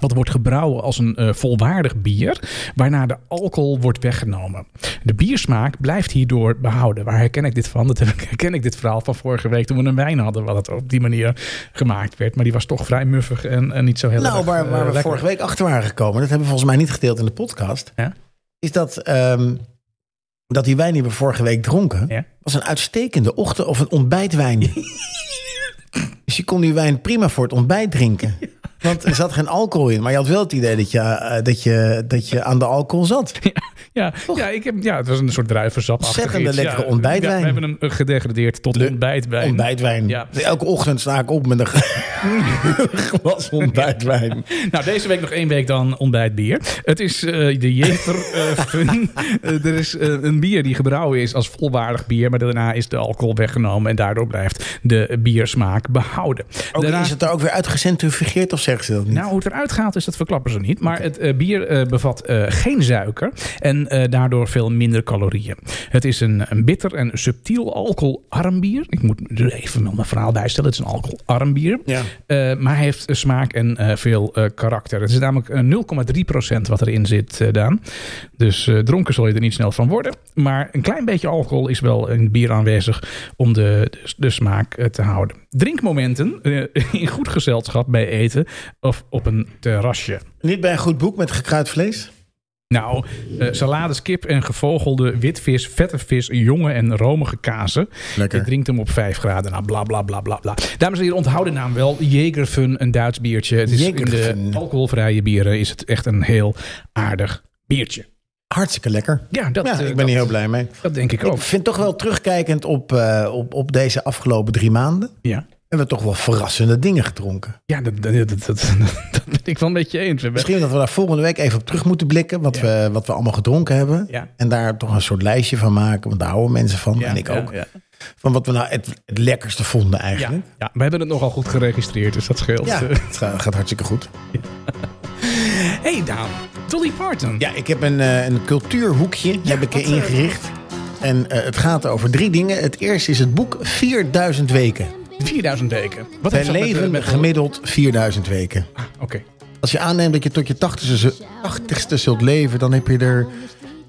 wat wordt gebrouwen als een eh, volwaardig bier, waarna de alcohol wordt weggenomen. De biersmaak blijft hierdoor behouden. Waar herken ik dit van? Dat herken ik dit verhaal van vorige week toen we een wijn hadden, wat het op die manier gemaakt werd. Maar die was toch vrij muffig en, en niet zo heel
Nou,
erg,
waar,
eh,
waar we
lekker.
vorige week achter waren gekomen, dat hebben we volgens mij niet gedeeld in de podcast,
Ja?
is dat, ehm, dat die wijn die we vorige week dronken,
Ja.
was een uitstekende ochtend- of een ontbijtwijn. dus je kon die wijn prima voor het ontbijt drinken. Want er zat geen alcohol in, maar je had wel het idee dat je, eh, dat je, dat je aan de alcohol zat.
Ja, ja, ik heb, ja, het was een soort druivensap.
Ontzettend lekkere ontbijtwijn.
we hebben hem eh, gedegradeerd tot
Le-
ontbijtwijn.
Ontbijtwijn.
Ja.
Dus elke ochtend sta ik op met een glas ontbijtwijn.
Nou, deze week nog één week dan ontbijtbier. Het is eh, de Jever eh, Fun. Eh, er is eh, een bier die gebrouwen is als volwaardig bier, maar daarna is de alcohol weggenomen en daardoor blijft de biersmaak behouden.
Ook,
Daarna-
is het daar ook weer uitgecentrifugeerd of zeggen ze dat niet?
nou, hoe het eruit gaat, is dat verklappen ze niet. Maar het eh, bier eh, bevat eh, geen suiker en eh, daardoor veel minder calorieën. Het is een, een bitter en subtiel alcoholarm bier. Ik moet er even wel mijn verhaal bijstellen. Het is een alcoholarm bier.
Ja.
Eh, maar hij heeft eh, smaak en eh, veel eh, karakter. Het is namelijk eh, 0,3% wat erin zit, eh, Daan. Dus eh, dronken zal je er niet snel van worden. Maar een klein beetje alcohol is wel in het bier aanwezig om de, de, de smaak eh, te houden. Drinkmomenten eh, in goed gezelschap bij eten of op een terrasje.
Niet bij een goed boek met gekruid vlees?
Nou, eh salades, kip en gevogelde witvis, vette vis, jonge en romige kazen.
Lekker.
Je drinkt hem op 5 graden. Nou, bla bla bla bla bla. Dames en heren, onthoud de naam wel. Jägerfun, een Duits biertje. Het is in de
Jägerfun.
alcoholvrije bieren is het echt een heel aardig biertje.
Hartstikke lekker.
Ja, dat,
ja,
eh,
ik ben
dat-
hier heel blij mee.
Dat denk ik ook.
Ik vind toch wel terugkijkend op, eh, op, op deze afgelopen drie maanden.
Ja.
Hebben we toch wel verrassende dingen gedronken.
Ja, dat, dat, dat, dat, dat ben ik wel een beetje eens. We hebben-
Misschien dat we daar volgende week even op terug moeten blikken. Wat, we, wat we allemaal gedronken hebben.
Ja.
En daar toch een soort lijstje van maken. Want daar houden mensen van.
Ja,
en ik
ja,
ook.
Ja,
Van wat we nou het, het lekkerste
ja.
vonden eigenlijk.
Ja, we hebben het nogal goed geregistreerd, dus dat scheelt.
Ja,
Eh,
het gaat gaat hartstikke goed.
Hey Daan, Dolly Parton.
Ja, ik heb een, eh, een cultuurhoekje heb ik
wat,
eh,
eh,
ingericht. En eh, het gaat over drie dingen. Het eerste is het boek 4000 weken.
4000 weken. Wat
Wij
heeft dat met, eh,
leven
met-
gemiddeld 4000 weken.
Ah, Oké.
Als je aanneemt dat je tot je 80ste, 80ste zult leven, dan heb je er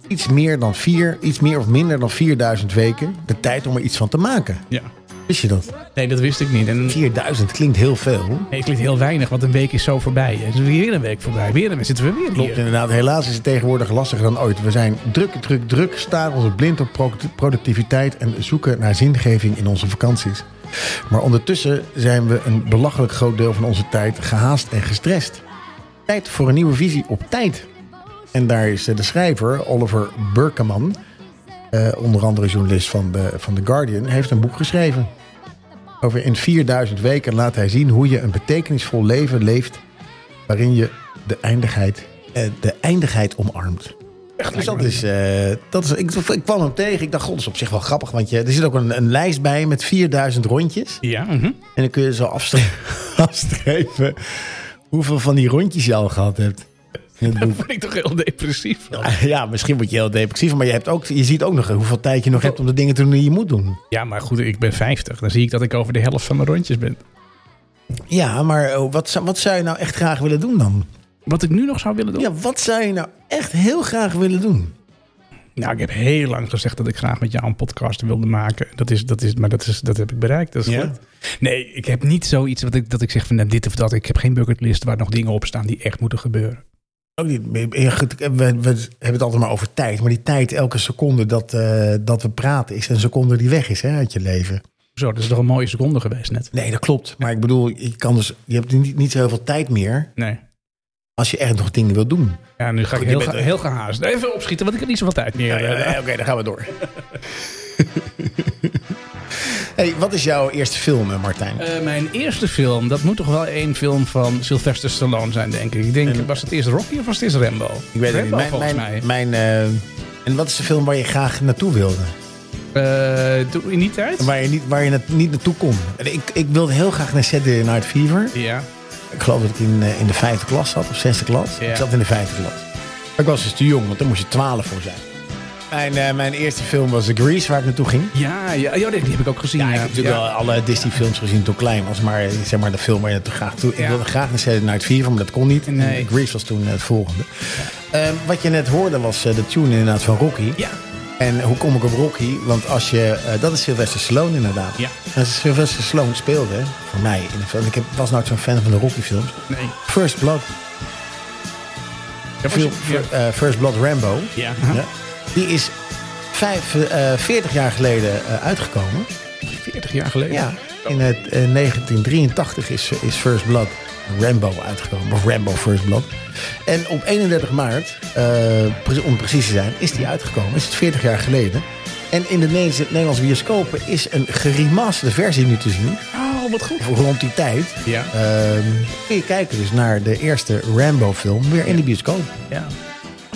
iets meer dan vier, iets meer of minder dan 4000 weken de tijd om er iets van te maken.
Ja.
Wist je dat?
Nee, dat wist ik niet. En
4000 klinkt heel veel.
nee, het klinkt heel weinig, want een week is zo voorbij. Het is weer een week voorbij. Weer een, zitten we weer
Klopt
hier.
inderdaad. Helaas is het tegenwoordig lastiger dan ooit. We zijn druk, druk, druk, staren ons blind op pro- productiviteit en zoeken naar zingeving in onze vakanties. Maar ondertussen zijn we een belachelijk groot deel van onze tijd gehaast en gestrest. Tijd voor een nieuwe visie op tijd. En daar is eh, de schrijver Oliver Burkeman, eh, onder andere journalist van de, van The Guardian, heeft een boek geschreven. Over in 4000 weken laat hij zien hoe je een betekenisvol leven leeft waarin je de eindigheid, eh, de eindigheid omarmt. Echt, dus dat is, eh, dat is ik, ik kwam hem tegen. Ik dacht, god, dat is op zich wel grappig. Want je, er zit ook een, een lijst bij met 4000 rondjes.
Ja, mhm.
En dan kun je zo afstre- afstrepen hoeveel van die rondjes je al gehad hebt. In het boek.
Word ik toch heel depressief. van.
Ja, misschien word je heel depressief, maar je, hebt ook, je ziet ook nog hoeveel tijd je nog hebt om de dingen te doen die je moet doen.
Ja, maar goed, ik ben 50. Dan zie ik dat ik over de helft van mijn rondjes ben.
Ja, maar eh, wat, zou- wat zou je nou echt graag willen doen dan?
Wat ik nu nog zou willen doen?
Ja, wat zou je nou echt heel graag willen doen?
Nou, ik heb heel lang gezegd dat ik graag met jou een podcast wilde maken. Dat is, dat is, maar dat, is, dat heb ik bereikt. Dat is
Ja.
gelukt. Nee, ik heb niet zoiets wat ik, dat ik zeg van nou, dit of dat. Ik heb geen bucketlist waar nog dingen op staan die echt moeten gebeuren.
Ook niet. Ja, goed, eh, we, we hebben het altijd maar over tijd. Maar die tijd, elke seconde dat, eh, dat we praten, is een seconde die weg is hè, uit je leven.
Zo, dat is toch een mooie seconde geweest net.
Nee, dat klopt. Maar ik bedoel, je, kan dus, je hebt niet, niet zo heel veel tijd meer
Nee.
als je echt nog dingen wil doen.
Ja, nu ga ik
je
heel,
bent
ga,
er.
heel gehaast. Even opschieten, want ik heb niet zoveel tijd meer.
Ja, ja,
Eh,
ja, Oké, dan gaan we door. hey, wat is jouw eerste film, Martijn?
Eh, mijn eerste film, dat moet toch wel één film van Sylvester Stallone zijn, denk ik. Ik denk, was het eerst Rocky of was het eerst Rambo?
ik weet het
Rambo,
niet. Mijn,
volgens
mijn,
mij.
mijn, eh, en wat is de film waar je graag naartoe wilde?
Eh, toen- in die tijd?
Waar je niet, waar je na- niet naartoe kon? En Ik, ik wilde heel graag naar Saturday Night Fever.
Ja.
Ik geloof dat ik in, eh, in de vijfde klas zat, of zesde klas.
Ja.
Ik zat in de vijfde klas. Maar ik was dus te jong, want daar moest je twaalf voor zijn. Mijn, eh, mijn eerste film was The Grease, waar ik naartoe ging.
Ja, ja, ja, die die heb ik ook gezien.
Ja, ik heb natuurlijk wel alle Disney-films gezien toen klein was, maar zeg maar de film waar je naartoe graag toe.
Ja.
Ik wilde graag naar Saturday Night Fever, maar dat kon niet. En
Nee.
Grease was toen eh, het volgende. Ehm, wat je net hoorde was eh, de tune inderdaad van Rocky.
Ja.
En hoe kom ik op Rocky? Want als je, eh, dat is Sylvester Stallone inderdaad.
Ja.
En Sylvester Stallone speelde voor mij in de film. Ik heb, was nooit zo'n fan van de Rocky-films.
Nee. Oh,
First Blood,
Ja,
Fil-
was je- ja.
Fir- eh, First Blood Rambo.
Ja.
Ja. Die is vijf, eh, 40 jaar geleden eh, uitgekomen.
40 jaar geleden.
Ja, in het, eh, 1983 is, eh, is First Blood Rambo uitgekomen. Of Rambo First Blood. En op 31 maart, eh, pre- om precies te zijn, is die uitgekomen. Is het 40 jaar geleden. En in de Nederlandse, Nederlandse bioscopen is een geremasterde versie nu te zien.
Oh, wat goed.
Of rond die tijd.
Ja.
Ehm, kun je kijken dus naar de eerste Rambo-film weer in de bioscoop.
Ja.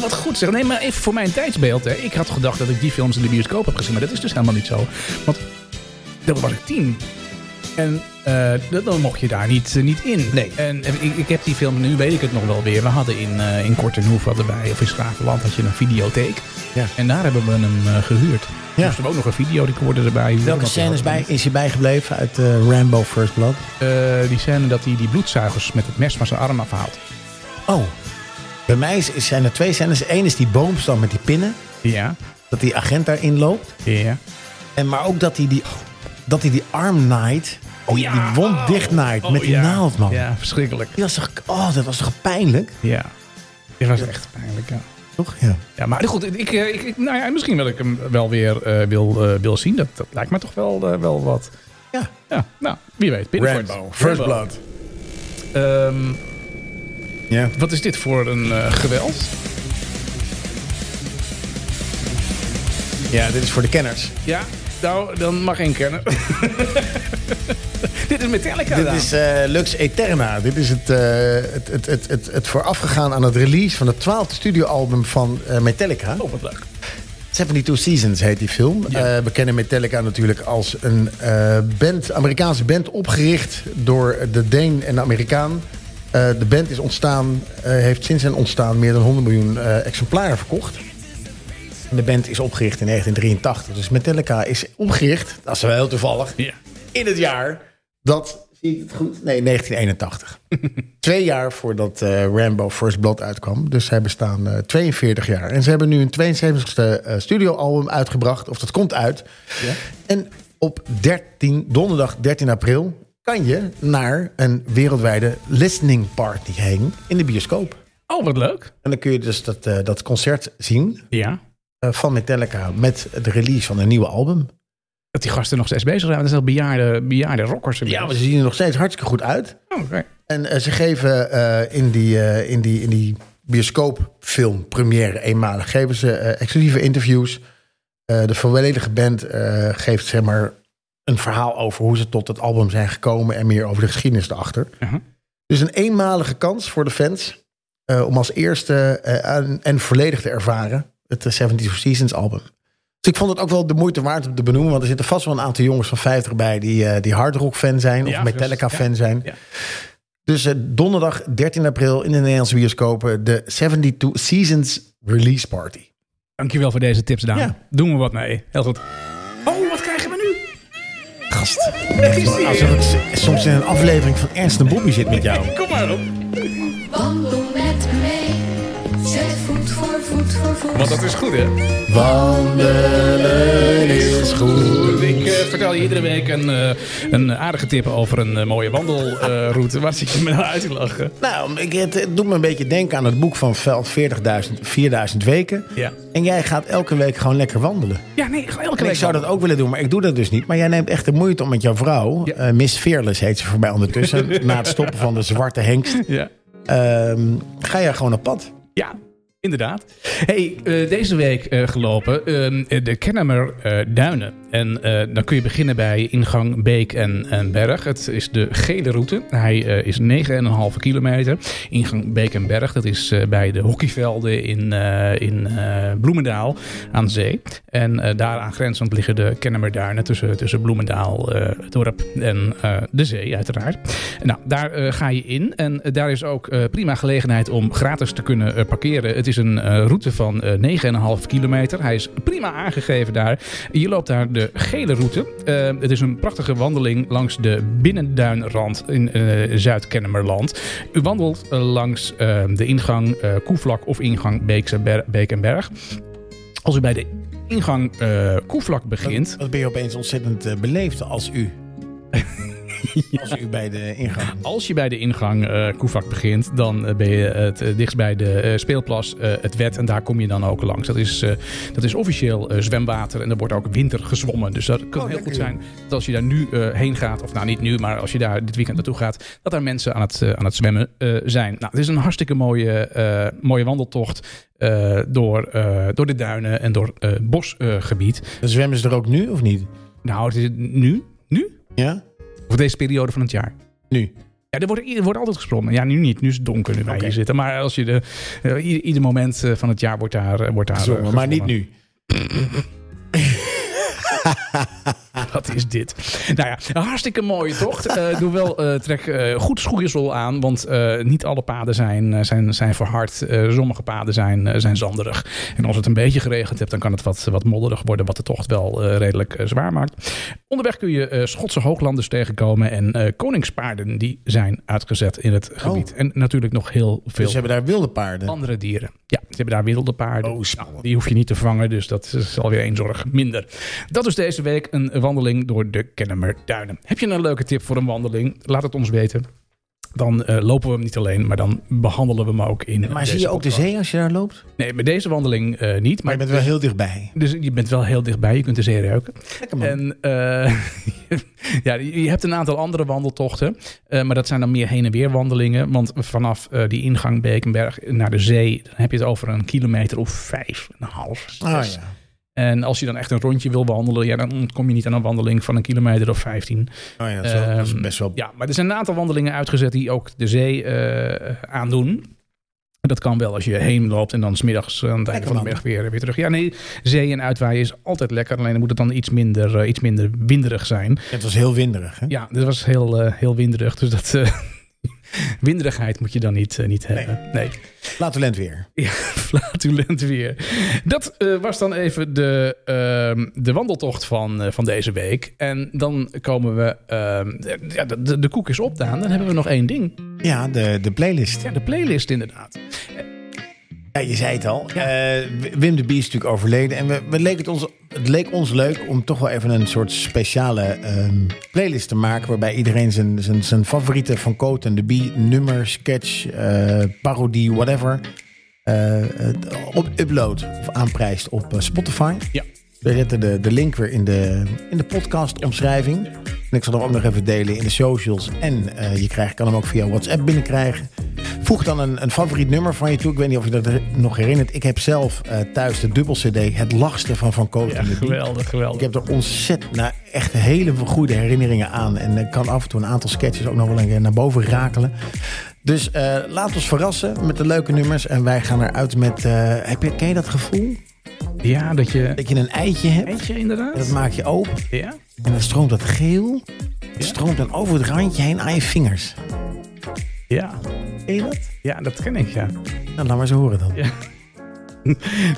Wat goed zeg. Nee, maar even voor mijn tijdsbeeld. Hè. Ik had gedacht dat ik die films in de bioscoop heb gezien. Maar dat is dus helemaal niet zo. Want dat was ik tien. En eh, dat, dan mocht je daar niet, eh, niet in.
Nee.
En eh, ik, ik heb die film, nu weet ik het nog wel weer. We hadden in, eh in Kortenhoef, hadden wij, of in Schravenland, had je een videotheek.
Ja.
En daar hebben we hem eh, gehuurd.
Ja.
Moesten we ook nog een videorecorder erbij. huren,
Welke
want we
scène is,
hadden
bij, is je bijgebleven uit eh, Rambo First Blood?
Eh, die scène dat hij die bloedzuigers met het mes van zijn arm afhaalt.
Oh, bij mij is- zijn er twee scènes. Eén is die boomstam met die pinnen.
Ja.
Dat die agent daarin loopt.
Ja.
En maar ook dat hij die, dat hij die arm naait. die,
Oh, ja.
die wond dicht naait met die
Oh, ja.
naald, man.
Ja, verschrikkelijk.
Die was toch, oh, dat was toch pijnlijk?
Ja. Dit was echt pijnlijk, ja.
Toch? Ja.
Ja, maar goed, ik, eh, ik, ik- nou ja, misschien wil ik hem wel weer eh, wil, eh, wil zien. Dat, dat lijkt me toch wel, eh, wel wat.
ja.
Ja, nou, wie weet. binnenkort. Rambo. Ehm,
Ja.
wat is dit voor een eh, geweld?
ja, dit is voor de kenners.
Ja, nou, dan mag één kennen. dit is Metallica
Dit
dan.
is eh, Lux Eterna. Dit is het, eh, het, het, het, het, het voorafgegaan aan het release van het twaalfde studioalbum van eh, Metallica.
Oh, wat leuk.
72 Seasons heet die film.
Ja.
Eh, we kennen Metallica natuurlijk als een eh, band, Amerikaanse band opgericht door de Deen en de Amerikaan. Eh, de band is ontstaan, eh, heeft sinds zijn ontstaan meer dan 100 miljoen eh, exemplaren verkocht. De band is opgericht in 1983. Dus Metallica is opgericht, dat is wel heel toevallig,
Ja.
in het jaar dat, zie ik het goed? Nee, 1981. Twee jaar voordat eh, Rambo First Blood uitkwam. Dus zij bestaan eh, 42 jaar. En ze hebben nu een 72e eh, studioalbum uitgebracht. Of dat komt uit. En op 13, donderdag 13 april kan je naar een wereldwijde listening party heen in de bioscoop.
Oh, wat leuk.
En dan kun je dus dat, eh, dat concert zien
Ja.
eh, van Metallica met de release van een nieuwe album.
Dat die gasten nog steeds bezig zijn. Dat zijn wel bejaarde, bejaarde rockers.
Ja, maar ze Dus zien er nog steeds hartstikke goed uit.
Oh, oké.
En eh, ze geven eh, in, die, eh, in, die, in die bioscoopfilm, première eenmalig, geven ze eh, exclusieve interviews. Eh, de volledige band eh, geeft zeg maar een verhaal over hoe ze tot het album zijn gekomen en meer over de geschiedenis erachter.
Uh-huh.
Dus een eenmalige kans voor de fans eh, om als eerste eh, aan- en volledig te ervaren het eh, 72 Seasons album. Dus ik vond het ook wel de moeite waard om te benoemen, want er zitten vast wel een aantal jongens van 50 bij die, eh, die hardrock fan zijn of
Ja,
Metallica
dus-
fan zijn.
ja.
Dus eh, donderdag 13 april in de Nederlandse bioscopen de 72 Seasons Release Party.
Dankjewel voor deze tips, Daan.
Ja.
Doen we wat mee. Heel goed. Oh, wat krijgen we nu?
Gast,
Het is die.
alsof ik s- soms in een aflevering van Ernst en Bobby zit met jou.
Kom maar op.
Wandel met goed voor
Want dat is goed, hè?
Wandelen is goed.
Ik eh, vertel je iedere week een, eh, een aardige tip over een eh, mooie wandelroute. Waar zit je me nou uit te lachen?
Nou, ik, het, het doet me een beetje denken aan het boek van Veld 40.000, 4000 weken.
Ja.
En jij gaat elke week gewoon lekker wandelen.
Ja, nee, gewoon elke
En
week.
ik zou dat ook willen doen, maar ik doe dat dus niet. Maar jij neemt echt de moeite om met jouw vrouw,
Ja.
eh, Miss Fearless heet ze voor mij ondertussen, na het stoppen van de zwarte hengst,
Ja.
ehm, ga jij gewoon op pad.
Ja, inderdaad. Hey, eh, deze week eh, gelopen eh, de Kennemer eh, Duinen. En eh, dan kun je beginnen bij ingang Beek en, en Berg. Het is de gele route. Hij eh, is 9,5 kilometer. Ingang Beek en Berg, dat is eh, bij de hockeyvelden in, eh, in eh, Bloemendaal aan zee. En eh daar aangrenzend liggen de Kennemerduinen tussen, tussen Bloemendaal, eh, het dorp en eh, de zee uiteraard. Nou, daar eh, ga je in en eh, daar is ook eh, prima gelegenheid om gratis te kunnen eh, parkeren. Het is een eh, route van eh 9,5 kilometer. Hij is prima aangegeven daar. Je loopt daar de gele route. Eh, het is een prachtige wandeling langs de binnenduinrand in eh, Zuid-Kennemerland. U wandelt eh, langs eh, de ingang eh Koevlak of ingang Beekse Ber- Beek en Berg. Als u bij de ingang eh Koevlak begint,
Wat ben je opeens ontzettend eh, beleefd als u. Als u bij de ingang.
Als je bij de ingang eh Koevak begint, dan eh, ben je het eh, dichtst bij de eh, speelplas, eh, het wet. En daar kom je dan ook langs. Dat is, eh, dat is officieel eh, zwemwater en er wordt ook winter gezwommen. Dus dat kan heel goed zijn dat als je daar nu eh, heen gaat, of nou niet nu, maar als je daar dit weekend naartoe gaat, dat daar mensen aan het, eh, aan het zwemmen eh, zijn. Nou, het is een hartstikke mooie, eh, mooie wandeltocht eh, door, eh, door de duinen en door eh bosgebied.
Dan zwemmen ze er ook nu of niet?
nou, het is nu, nu?
Ja?
Of deze periode van het jaar?
Nu.
Ja, er wordt, er wordt altijd gesprongen. Ja, nu niet. Nu is het donker nu wij
Oké.
hier zitten. Maar als je de, eh, ieder, ieder moment eh, van het jaar wordt daar, eh, wordt daar eh,
Zwemmen, maar niet
gesprongen.
nu.
Wat is dit? Nou ja, een hartstikke mooie tocht. Eh, doe wel, eh, trek eh, goed schoeisel aan, want eh, niet alle paden zijn, eh, zijn, zijn verhard. Eh, sommige paden zijn, eh, zijn zanderig. En als het een beetje geregend hebt, dan kan het wat, wat modderig worden, wat de tocht wel eh, redelijk eh, zwaar maakt. Onderweg kun je eh, Schotse hooglanders tegenkomen en eh, koningspaarden die zijn uitgezet in het gebied. En natuurlijk nog heel veel
Oh. Dus ze hebben daar wilde paarden.
andere dieren. Ja, ze hebben daar wilde paarden.
Oh, spannend.
Nou, die hoef je niet te vangen, dus dat is alweer één zorg minder. Dat is deze week een wandeling door de Kennemerduinen. Heb je een leuke tip voor een wandeling? Laat het ons weten. Dan eh, lopen we hem niet alleen, maar dan behandelen we hem ook in.
Maar
deze
zie je ook de
podcast.
zee als je daar loopt?
Nee, bij deze wandeling eh, niet.
Maar
Maar
je bent wel heel dichtbij.
dus je bent wel heel dichtbij, je kunt de zee ruiken. En eh, ja, je je hebt een aantal andere wandeltochten, eh, maar dat zijn dan meer heen en weer wandelingen. Want vanaf eh, die ingang Bekenberg naar de zee dan heb je het over een kilometer of vijf en een half.
Ah
zes.
ja.
En als je dan echt een rondje wil wandelen, ja, dan kom je niet aan een wandeling van een kilometer of vijftien.
Oh ja, dat is, wel- dat is
Ehm,
best wel...
Ja, maar er zijn een aantal wandelingen uitgezet die ook de zee eh, aandoen. Dat kan wel als je heen loopt en dan smiddags eh, aan het einde
Lekker
van de middag weer, weer terug. Ja, nee, zee en uitwaaien is altijd lekker. Alleen moet het dan iets minder, eh, iets minder winderig zijn.
Het was heel winderig, hè?
Ja, dat was heel, eh, heel winderig. Dus dat eh, winderigheid moet je dan niet, eh, niet hebben. Nee.
Flatulent weer.
Ja, flatulent weer. Dat eh, was dan even de, ehm, de wandeltocht van, eh, van deze week. En dan komen we... ehm, ja, de, de, de koek is opdaan. Dan hebben we nog één ding.
Ja, de, de playlist.
Ja, de playlist inderdaad.
Ja, je zei het al. Eh, Wim de Bie is natuurlijk overleden. En we, we leek het, ons, het leek ons leuk om toch wel even een soort speciale ehm, playlist te maken. Waarbij iedereen zijn, zijn, zijn favoriete van Coat en de Bie, nummer, sketch, eh, parodie, whatever. eh, het op upload of aanprijst op eh, Spotify.
Ja.
We zetten de, de link weer in de, in de podcastomschrijving. En ik zal hem ook nog even delen in de socials. En eh, je krijgt, kan hem ook via WhatsApp binnenkrijgen. Voeg dan een, een favoriet nummer van je toe. Ik weet niet of je dat er nog herinnert. Ik heb zelf eh, thuis de dubbel CD, het lachste van Van Koot.
Ja,
en de Bie.
geweldig,
Ik
geweldig.
heb er ontzettend, nou, echt hele goede herinneringen aan. En ik kan af en toe een aantal sketches ook nog wel een keer naar boven rakelen. Dus eh, laat ons verrassen met de leuke nummers. En wij gaan eruit met, eh, heb je, ken je dat gevoel?
Ja, dat je...
Dat je een eitje hebt.
Eentje
En dat
inderdaad?
maak je open.
Ja.
En dan stroomt dat geel. Het stroomt dan over het randje heen aan je vingers.
Ja.
Ken je dat?
Ja, dat ken ik, ja.
Nou, laat maar eens horen dan.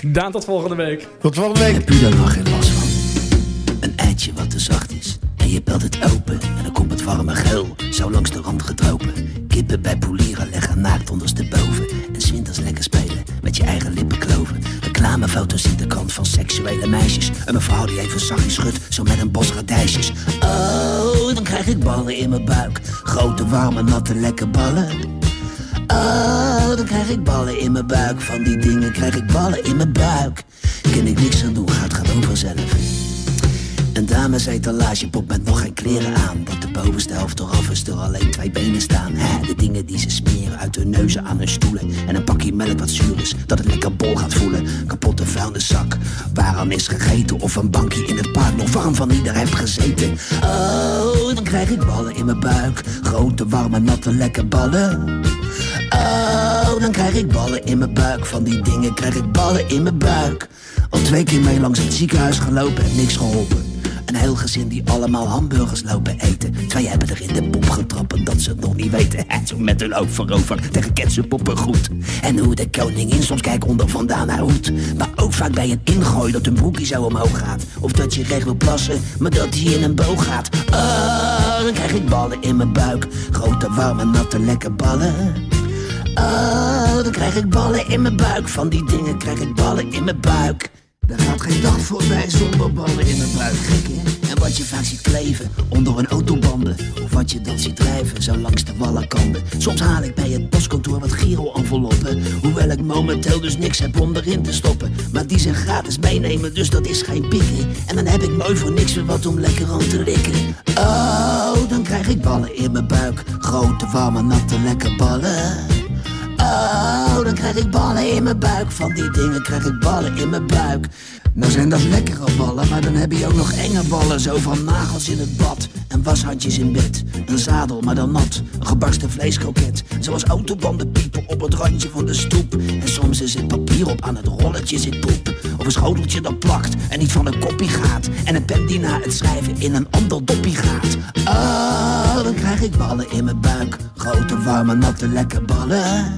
Daan, tot volgende week.
Tot volgende week.
Heb je er nog geen last van? Een eitje wat te zacht is. En je belt het open en dan komt het warme geul. Zo langs de rand gedropen. Kippen bij polieren leggen naakt ondersteboven. En 's winters lekker spelen met je eigen lippenkloven. Reclamefoto's in de kant van seksuele meisjes. En mijn vrouw die even zachtjes schudt, zo met een bos radijsjes. Oh, dan krijg ik ballen in mijn buik. Grote, warme, natte, lekke ballen. Oh, dan krijg ik ballen in mijn buik. Van die dingen krijg ik ballen in mijn buik. Kan ik niks aan doen, gaat gewoon vanzelf. Een damesetalagepop met nog geen kleren aan. Dat de bovenste helft eraf is, er alleen twee benen staan. Hè, de dingen die ze smeren uit hun neuzen aan hun stoelen. En een pakje melk wat zuur is, dat het lekker bol gaat voelen. Kapotte vuilniszak, waaraan is gegeten. Of een bankje in het park, nog warm van ieder heb gezeten. Oh, dan krijg ik ballen in mijn buik. Grote, warme, natte, lekker ballen. Oh, dan krijg ik ballen in mijn buik. Van die dingen krijg ik ballen in mijn buik. Al twee keer mee langs het ziekenhuis gelopen en niks geholpen. Een heel gezin die allemaal hamburgers lopen eten. Twee hebben er in de pop getrapt omdat ze het nog niet weten. En zo met hun hoofd voorover tegen ketchup op een goed. En hoe de koningin soms kijkt onder vandaan haar hoed. Maar ook vaak bij een ingooi dat hun broekje zo omhoog gaat. Of dat je recht wil plassen, maar dat hij in een boog gaat. Oh, dan krijg ik ballen in mijn buik. Grote, warme, natte, lekker ballen. Oh, dan krijg ik ballen in mijn buik. Van die dingen krijg ik ballen in mijn buik. Er gaat geen dag voorbij zonder ballen in mijn buik. Gek, hè? En wat je vaak ziet kleven onder een autobanden. Of wat je dan ziet drijven zo langs de wallenkanten. Soms haal ik bij het postkantoor wat giro-enveloppen. Hoewel ik momenteel dus niks heb om erin te stoppen. Maar die zijn gratis meenemen, dus dat is geen pikken. En dan heb ik mooi voor niks weer wat om lekker aan te likken. Oh, dan krijg ik ballen in mijn buik. Grote, warme, natte, lekker ballen. Oh, dan krijg ik ballen in mijn buik. Van die dingen krijg ik ballen in mijn buik. Nou zijn dat lekkere ballen, maar dan heb je ook nog enge ballen. Zo van nagels in het bad en washandjes in bed. Een zadel, maar dan nat. Een gebarsten vleeskroket. Zoals autobanden piepen op het randje van de stoep. En soms is het papier op aan het rolletje zit poep. Of een schoteltje dat plakt en niet van een koppie gaat. En een pen die na het schrijven in een ander doppie gaat. Oh, dan krijg ik ballen in mijn buik. Grote, warme, natte, lekker ballen.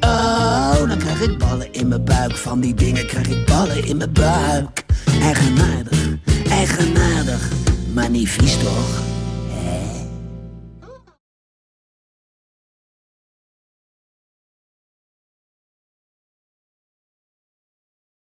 Oh, dan krijg ik ballen in mijn buik. Van die dingen krijg ik ballen in mijn buik. Eigenaardig, eigenaardig, maar niet vies toch?